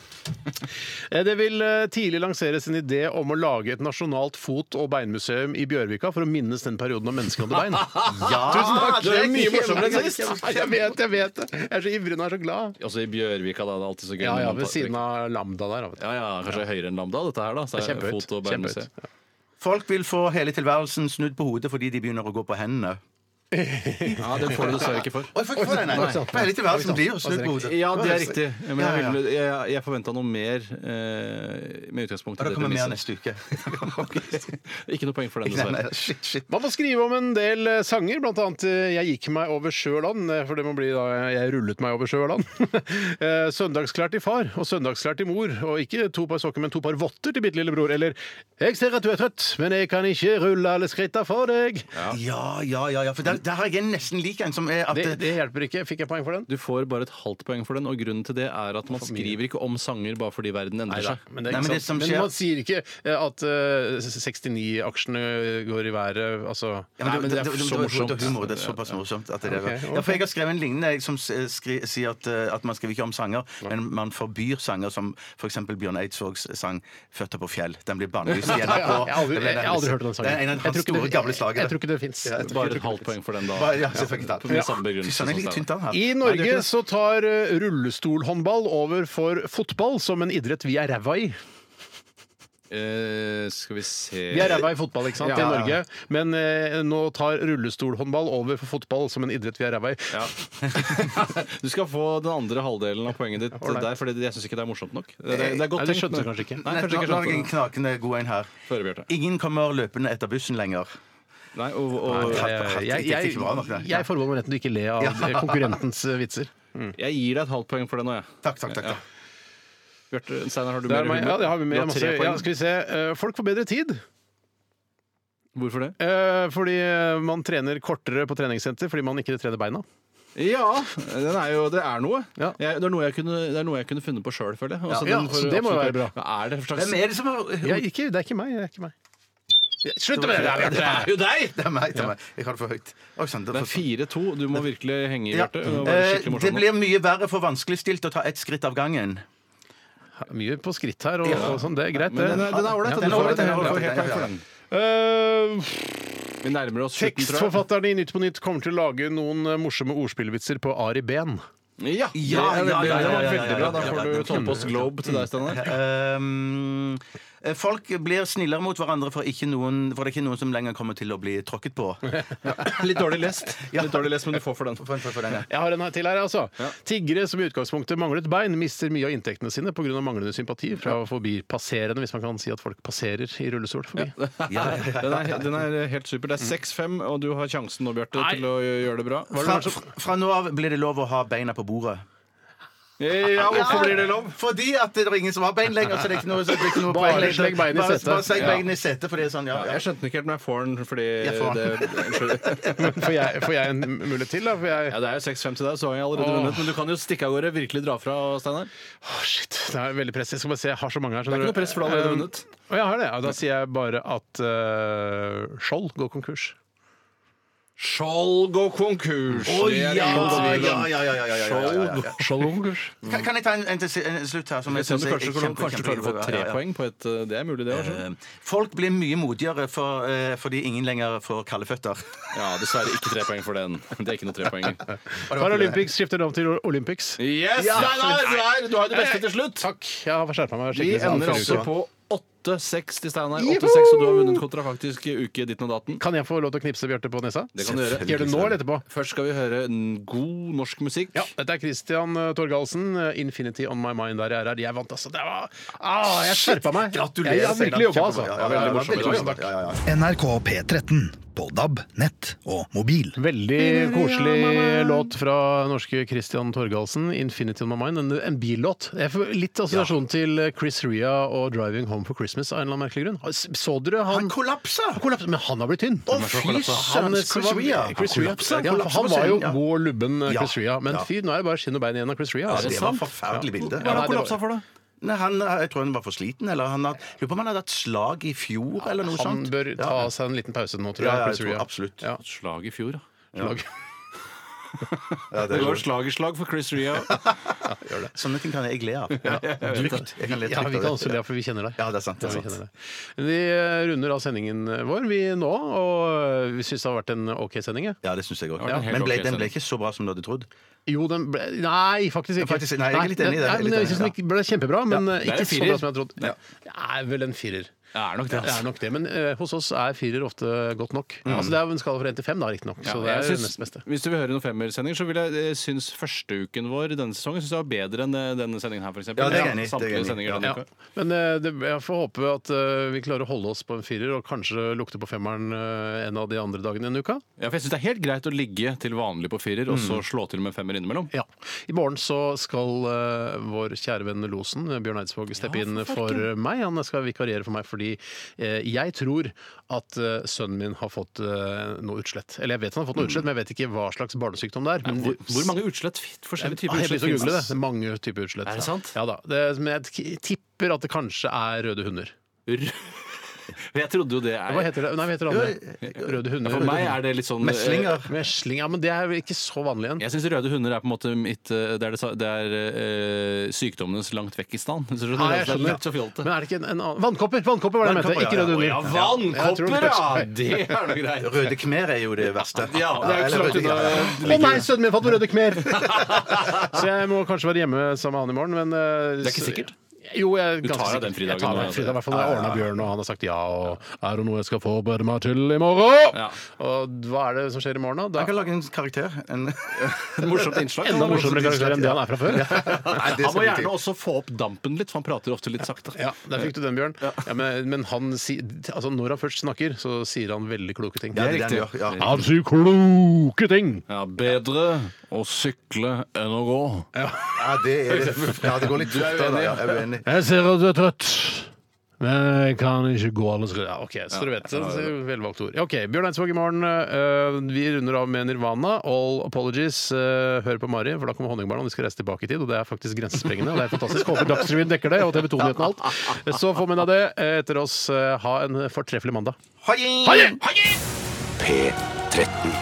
Eh, Det vil eh, tidlig lanseres en idé om å lage et nasjonalt fot- og beinmuseum i Bjørvika for å minnes den perioden da menneskene *laughs* hadde bein.
Ja, Tusen takk!
Det er mye morsommere enn sist! Jeg vet, jeg vet det. Jeg er så ivrig og jeg er så glad.
Også i Bjørvika, da. Det er alltid så gøy.
Ja,
når
ja,
man
ved
tar-
siden av Lambda der. vet du.
Ja, ja, Kanskje høyere enn Lambda, dette her, da. Så
Det er kjempehøyt.
fot- og
Kjempehøyt.
beinmuseum.
Folk vil få hele tilværelsen snudd på hodet fordi de begynner å gå på hendene.
Ja, den får du dessverre ikke for.
Oi, får ikke få den, nei. Hele tilværelsen blir jo snudd på hodet.
Ja, det er riktig. Men
Ja,
jeg,
ja.
ville- jeg, jeg forventa noe mer eh, med utgangspunkt i
Det
det
kommer mer
premisset.
neste uke.
*laughs* Ikke noe poeng
*laughs*
for den,
Nei, nei,
dessverre.
shit, shit.
Man får skrive om en del eh, sanger, blant annet eh, Jeg gikk meg over sjø og land, eh, for det må bli da Jeg rullet meg over sjø og land. *laughs* Eh, Søndagsklær til far og søndagsklær til mor, og ikke to par sokker, men to par votter til bitte lillebror. Eller Jeg ser at du er trøtt, men jeg kan ikke rulle alle skritta for deg.
Ja, ja, ja. ja. For der, der har jeg en nesten lik en som er at
Det, det hjelper ikke. Fikk jeg poeng for den?
Du får bare et halvt poeng for den, og grunnen til det er at man skriver ikke om sanger bare fordi verden endrer seg.
Men, det
Nei,
er
men
ikke
det som
sant. men
skjer-
man sier ikke eh, at eh, 69-aksjene går i været. Altså
Ja, men,
Nei, men
det,
det er
det, det,
så
det,
morsomt.
det er humor, det er såpass morsomt at det er
Ok,
Ja, for Jeg har skrevet en lignende jeg, som s- skri, sier at, eh, at man skriver ikke om sanger, men man forbyr sanger som f.eks. Bjørn Eidsvågs sang 'Føtter på fjell'. Den blir bannlyst i
*laughs* Ja,
NRK.
ja, Jeg har aldri,
Det ble
jeg har aldri hørt om den sangen.
Det er en av
Jeg tror
hans
ikke
store,
det- jeg-
gamle
Jeg
slagere.
tror ikke det fins.
Ja, jeg tror
Bare et halvt poeng for den, da.
Bare- Ja, selvfølgelig. takk.
På den samme
Fy
begrunnelsen
søren, jeg er litt
som
tynt
Steinar.
av den her.
I
Nei, det er
Norge
ikke
så tar eh, rullestolhåndball over for fotball som en idrett vi er ræva i.
Eh, skal vi se
Vi er ræva i fotball ikke sant,
Ja.
i Norge, men eh, nå tar rullestolhåndball over for fotball som en idrett vi er ræva i.
*laughs* Du skal få den andre halvdelen av poenget ditt der, for jeg syns ikke det er morsomt nok. Det,
Eh,
det, det er godt
Nei, du
tenkt,
skjønte
men-
kanskje ikke.
Nei, kanskje
Nå
ikke
lager jeg en
skjønte det.
knakende god en her.
Føre, Bjarte.
Ingen kommer løpende etter bussen lenger.
Nei, og, og,
Eh, Jeg, jeg, jeg, jeg forbeholder meg retten til ikke å le av eh, *laughs* konkurrentens eh, vitser.
jeg gir deg et halvt poeng for det nå, jeg.
Takk, takk, takk.
Ja.
takk.
Bjarte Steinar, har du
Det
mer
er meg. Ja, det har vi med.
Du har
Masse.
tre
Ja,
poeng.
skal vi se. Eh, Folk får bedre tid.
Hvorfor det?
Eh, Fordi eh, man trener kortere på treningssenter fordi man ikke trener beina.
Ja, den er jo, det er noe.
Ja.
Jeg, det, er noe jeg kunne, det er noe jeg kunne funnet på sjøl, føler jeg. Altså,
Ja,
den får
så det må jo
absolutt-
være
Hva er det for slags
Hvem er det som har
Ja, ikke, det er ikke meg. Det er ikke meg. Ja, Slutt med det! der, Bjarte.
Det er jo deg!
Det er meg. det er meg. Jeg har det for høyt. Oi, sånn, det
Det
er
er
for...
4-2. Du må virkelig henge i,
Ja.
Bjarte. Det må være
Eh,
skikkelig
Det
morsomt nå.
blir mye verre for vanskeligstilte å ta ett skritt av gangen.
Mye på skritt her og, og sånn. Det er greit,
Men den
det.
er den er ålreit.
Ja,
da.
den
Du
er
får
ålreit,
den. Du
den er
får
ålreit,
helt
den
poeng
er
for
ålreit.
den.
Eh,
Vi nærmer oss slutten, tror jeg.
Tekstforfatterne i Nytt på Nytt kommer til å lage noen eh, morsomme ordspillvitser på Ari Behn.
Ja,
Ja,
det er
ja,
veldig-
ja, ja, ja,
det
ja,
var veldig bra. Da
ja, ja,
får du Tollpost Globe til deg,
*laughs*
Steinar.
Ehm, folk blir snillere mot hverandre, for, ikke noen, for det er ikke noen som lenger kommer til å bli tråkket på.
Litt dårlig lest, Litt dårlig lest, men du får for den.
For, for, for den, ja.
Jeg har en her til her, altså. Tiggere som i utgangspunktet manglet bein, mister mye av inntektene sine pga. manglende sympati fra forbipasserende, hvis man kan si at folk passerer i rullestol forbi.
*laughs* Den er, den er helt super. Det er 6-5, og du har sjansen nå, Bjarte,
Nei.
til å gjøre det bra. Hva er
Fra,
det du har så-
fra nå av blir det lov å ha beina på bordet.
Ja, hvorfor blir det lov?
Fordi at det er ingen som har bein lenger. Så det er ikke noe, så det er ikke noe
Bare
poeng lenger.
slegg bein i
Bare-
setet.
Bare slegg
Ja.
bein i setet, for det er sånn, ja. ja.
Jeg skjønte den ikke helt, men jeg får den fordi
Jeg får den.
det- *laughs* Unnskyld.
Men får jeg, får jeg en mulighet til, da? Får jeg
Ja, Det er jo 6-5 til deg, så har jeg allerede
Åh.
vunnet. Men du kan jo stikke av gårde. Virkelig dra fra, Steinar.
Åh, Shit, det er veldig press. Jeg skal bare se, jeg har så mange her. Eh,
Det er ikke noe press, for du har allerede vunnet.
Å, jeg har det. Ja, da sier jeg bare at eh, Skjold går konkurs.
Skjold går konkurs!
Å,
Det er det
ja,
ingen
ja,
tvil om.
ja, ja, ja, ja, ja, ja, ja, ja.
Skjold går konkurs.
Kan, kan jeg ta en, en, til, si- en slutt her? Som
Jeg
jeg
ser om du
synes er
kanskje,
kjempe-
kanskje klarer å få
kjempe-
tre
ja, ja.
poeng på et eh, Det er mulig, det. Også.
Eh, Folk blir mye modigere for, eh, fordi ingen lenger får kalde føtter.
Ja, dessverre ikke tre poeng for den. Det er ikke noe tre *laughs* poeng.
Paralympics skifter navn til Olympics.
Yes! Steinar! Steinar, Du har jo det beste til slutt.
Takk. Jeg har skjerpa meg.
Vi
skikkelig siden
ender
forrige
altså
uke.
på 8-6 til Steinar. 8-6, og du har vunnet kontrafaktisk uke ditten og datten.
Kan jeg få lov til å knipse Bjarte på nesa?
Det kan du gjøre.
Gjør det nå eller etterpå?
Først skal vi høre en god norsk musikk.
Ja, dette er Christian eh, Torgalsen. eh, 'Infinity On My Mind' der jeg er. Jeg vant, altså. Det var ah, Jeg skjerpa meg.
Gratulerer,
Jeg, jeg virkelig jobba, altså.
Steinar.
Det var veldig morsomt.
Kjempebra.
Tusen takk.
Ja, ja, ja.
NRK P13 på DAB, nett og mobil.
Veldig koselig låt fra norske Christian Torgalsen. 'Infinity On My Mind'. En, en billåt. Jeg får litt assosiasjon til Chris Ria og 'Driving Home for Christmas' av en eller annen merkelig grunn. S- Så dere han
Han kollapsa!
Han kollapset, Men han har blitt tynn.
Å, fy
Han,
søren!
Chris Ria. Chris Ria.
Kollapsa,
Ja,
kollapsa
han
på
var jo
scenen, ja.
god og lubben eh,
Ja.
Chris Ria, men
Ja.
fy, nå er det bare skinn og bein igjen av Chris altså. Ria.
Det var et forferdelig bilde.
Hva er det han
det var-
kollapsa for, da?
Nei, han, eh, jeg tror han var for sliten. Eller han had, lurer på om han hadde hatt slag i fjor, eller noe
Han
sånt.
bør
Ja.
ta seg en liten pause nå, tror
ja,
jeg.
ja,
Chris
jeg tror
Ria.
absolutt.
Ja.
Slag i fjor, da.
Lag.
Ja, det
Det
er
var
jo-
slag i slag for Chris *laughs* Ria.
Sånne ting kan jeg le av. Ja, trygt. Jeg kan le
Ja, vi
trygt av
kan
det.
også le, for vi kjenner deg.
Ja, det er sant. Det
Ja,
er
vi kjenner
sant.
deg. Vi eh, runder av sendingen vår vi nå, og eh, vi syns det har vært en OK sending. jeg.
Ja, det syns jeg òg.
Ja, helt
Men ble,
ok,
den ble
sending.
ikke så bra som du hadde trodd.
Jo, den ble Nei, faktisk ikke.
faktisk- nei, jeg er litt enig i det.
Nei,
Jeg
men
er litt
jeg
enig,
syns den
ja.
ikke ble kjempebra, men eh,
det er en
ikke så
firer.
bra som jeg trodde. Det er vel en firer.
Det er nok det. altså.
Det er nok det, men eh, hos oss er firer ofte godt nok. Altså, det er jo en skala fra én til fem, da, riktignok.
Ja,
Så det
jeg
er
syns-
nest beste.
Hvis du vil høre noen femmersending, så vil jeg, jeg synes første uken vår denne sesongen synes jeg var bedre enn eh, denne sendingen her, f.eks.
Ja, det er jeg enig i, det er jeg enig
Samtlige
i.
sendinger denne
Ja.
uka.
Men eh, det, jeg får håpe at eh, vi klarer å holde oss på en firer, og kanskje lukte på femmeren eh, en av de andre dagene i en uka.
Ja, for jeg synes det er helt greit å ligge til vanlig på firer, og så slå til med en femmer innimellom.
Ja. I morgen så skal eh, vår kjære venn Losen, eh, Bjørn Eidsvåg, steppe inn for eh, meg. Han skal vikariere for meg fordi eh, jeg tror at eh, sønnen min har fått eh, noe utslett. Eller jeg vet han har fått noe utslett, men jeg vet ikke hva slags barnesykdom det er. Men
Mm. Hvor, hvor mange utslett forskjellige
Ah,
typer
jeg
utslett
begynte å google det.
finnes?
Det er mange typer utslett.
Er det sant?
Ja da. Det, men jeg t- tipper at det kanskje er røde hunder.
*laughs* Men Jeg trodde jo det er
Hva heter det? Nei, hva heter det andre? Røde hunder.
For meg er det litt sånn eh,
Meslinger.
Mesling, ja, men det er jo ikke så vanlig igjen.
Jeg syns røde hunder er på en måte mitt eh, Det er, det, sa- det er eh, sykdommenes langt vekk i stand. Så skjønner du?
Nei,
det
jeg
er
skjønner.
litt så fjolte.
Men er det ikke en, en annen Vannkopper! Vannkopper var det jeg mente,
Vannkopper,
ikke
ja,
røde hunder.
Ja,
jeg tror
vannkopper,
det.
ja! Det er noe greit.
*laughs* Røde khmer er jo det verste.
Ja, det er jo ikke så
eller
langt
røde- ja, ja.
unna.
Å nei, sønnen min
*laughs*
har fått røde khmer! så jeg må kanskje være hjemme sammen med han i morgen. Men, eh,
Det er ikke sikkert.
Jo, jeg
Du tar
ganske
av den
sikkert.
fridagen
Jeg tar meg
nå,
en fridag, i
ja.
hvert fall når jeg ordna Bjørn og han har sagt ja. Og er det noe jeg skal forberede meg til i morgen?
Ja.
Og hva er det som skjer i morgen, da?
Jeg kan lage en karakter. En
Et morsomt innslag.
Enda morsommere karakter enn det han er fra før.
Han
det skal
må
vi til.
gjerne også få opp dampen litt, for han prater ofte litt sakte.
*laughs* Ja, Der fikk du den, Bjørn. Ja, men, men han si, altså når han først snakker, så sier han veldig kloke ting.
det er det han
riktig.
gjør, ja.
Han sier kloke ting!
Ja, bedre å sykle enn å gå.
ja, det er det. Ja, det går litt fortere, da. Ja, jeg er uenig.
Jeg ser at du er trøtt. Men jeg kan ikke gå alle skritt. Ja, OK, så dere vet. det er Velvalgt ord. Ja, OK, Bjørn Eidsvåg i morgen. eh, vi runder av med Nirvana. All apologies. eh, hør på Mari, for da kommer Honningbarna. og De skal reise tilbake i tid, og det er faktisk grensesprengende. Og det er fantastisk. Håper Dagsrevyen dekker det, og TV 2-nyhetene og alt. Så få med deg det. Eh, Etter oss, eh, ha en fortreffelig mandag.
Ha det!
P13.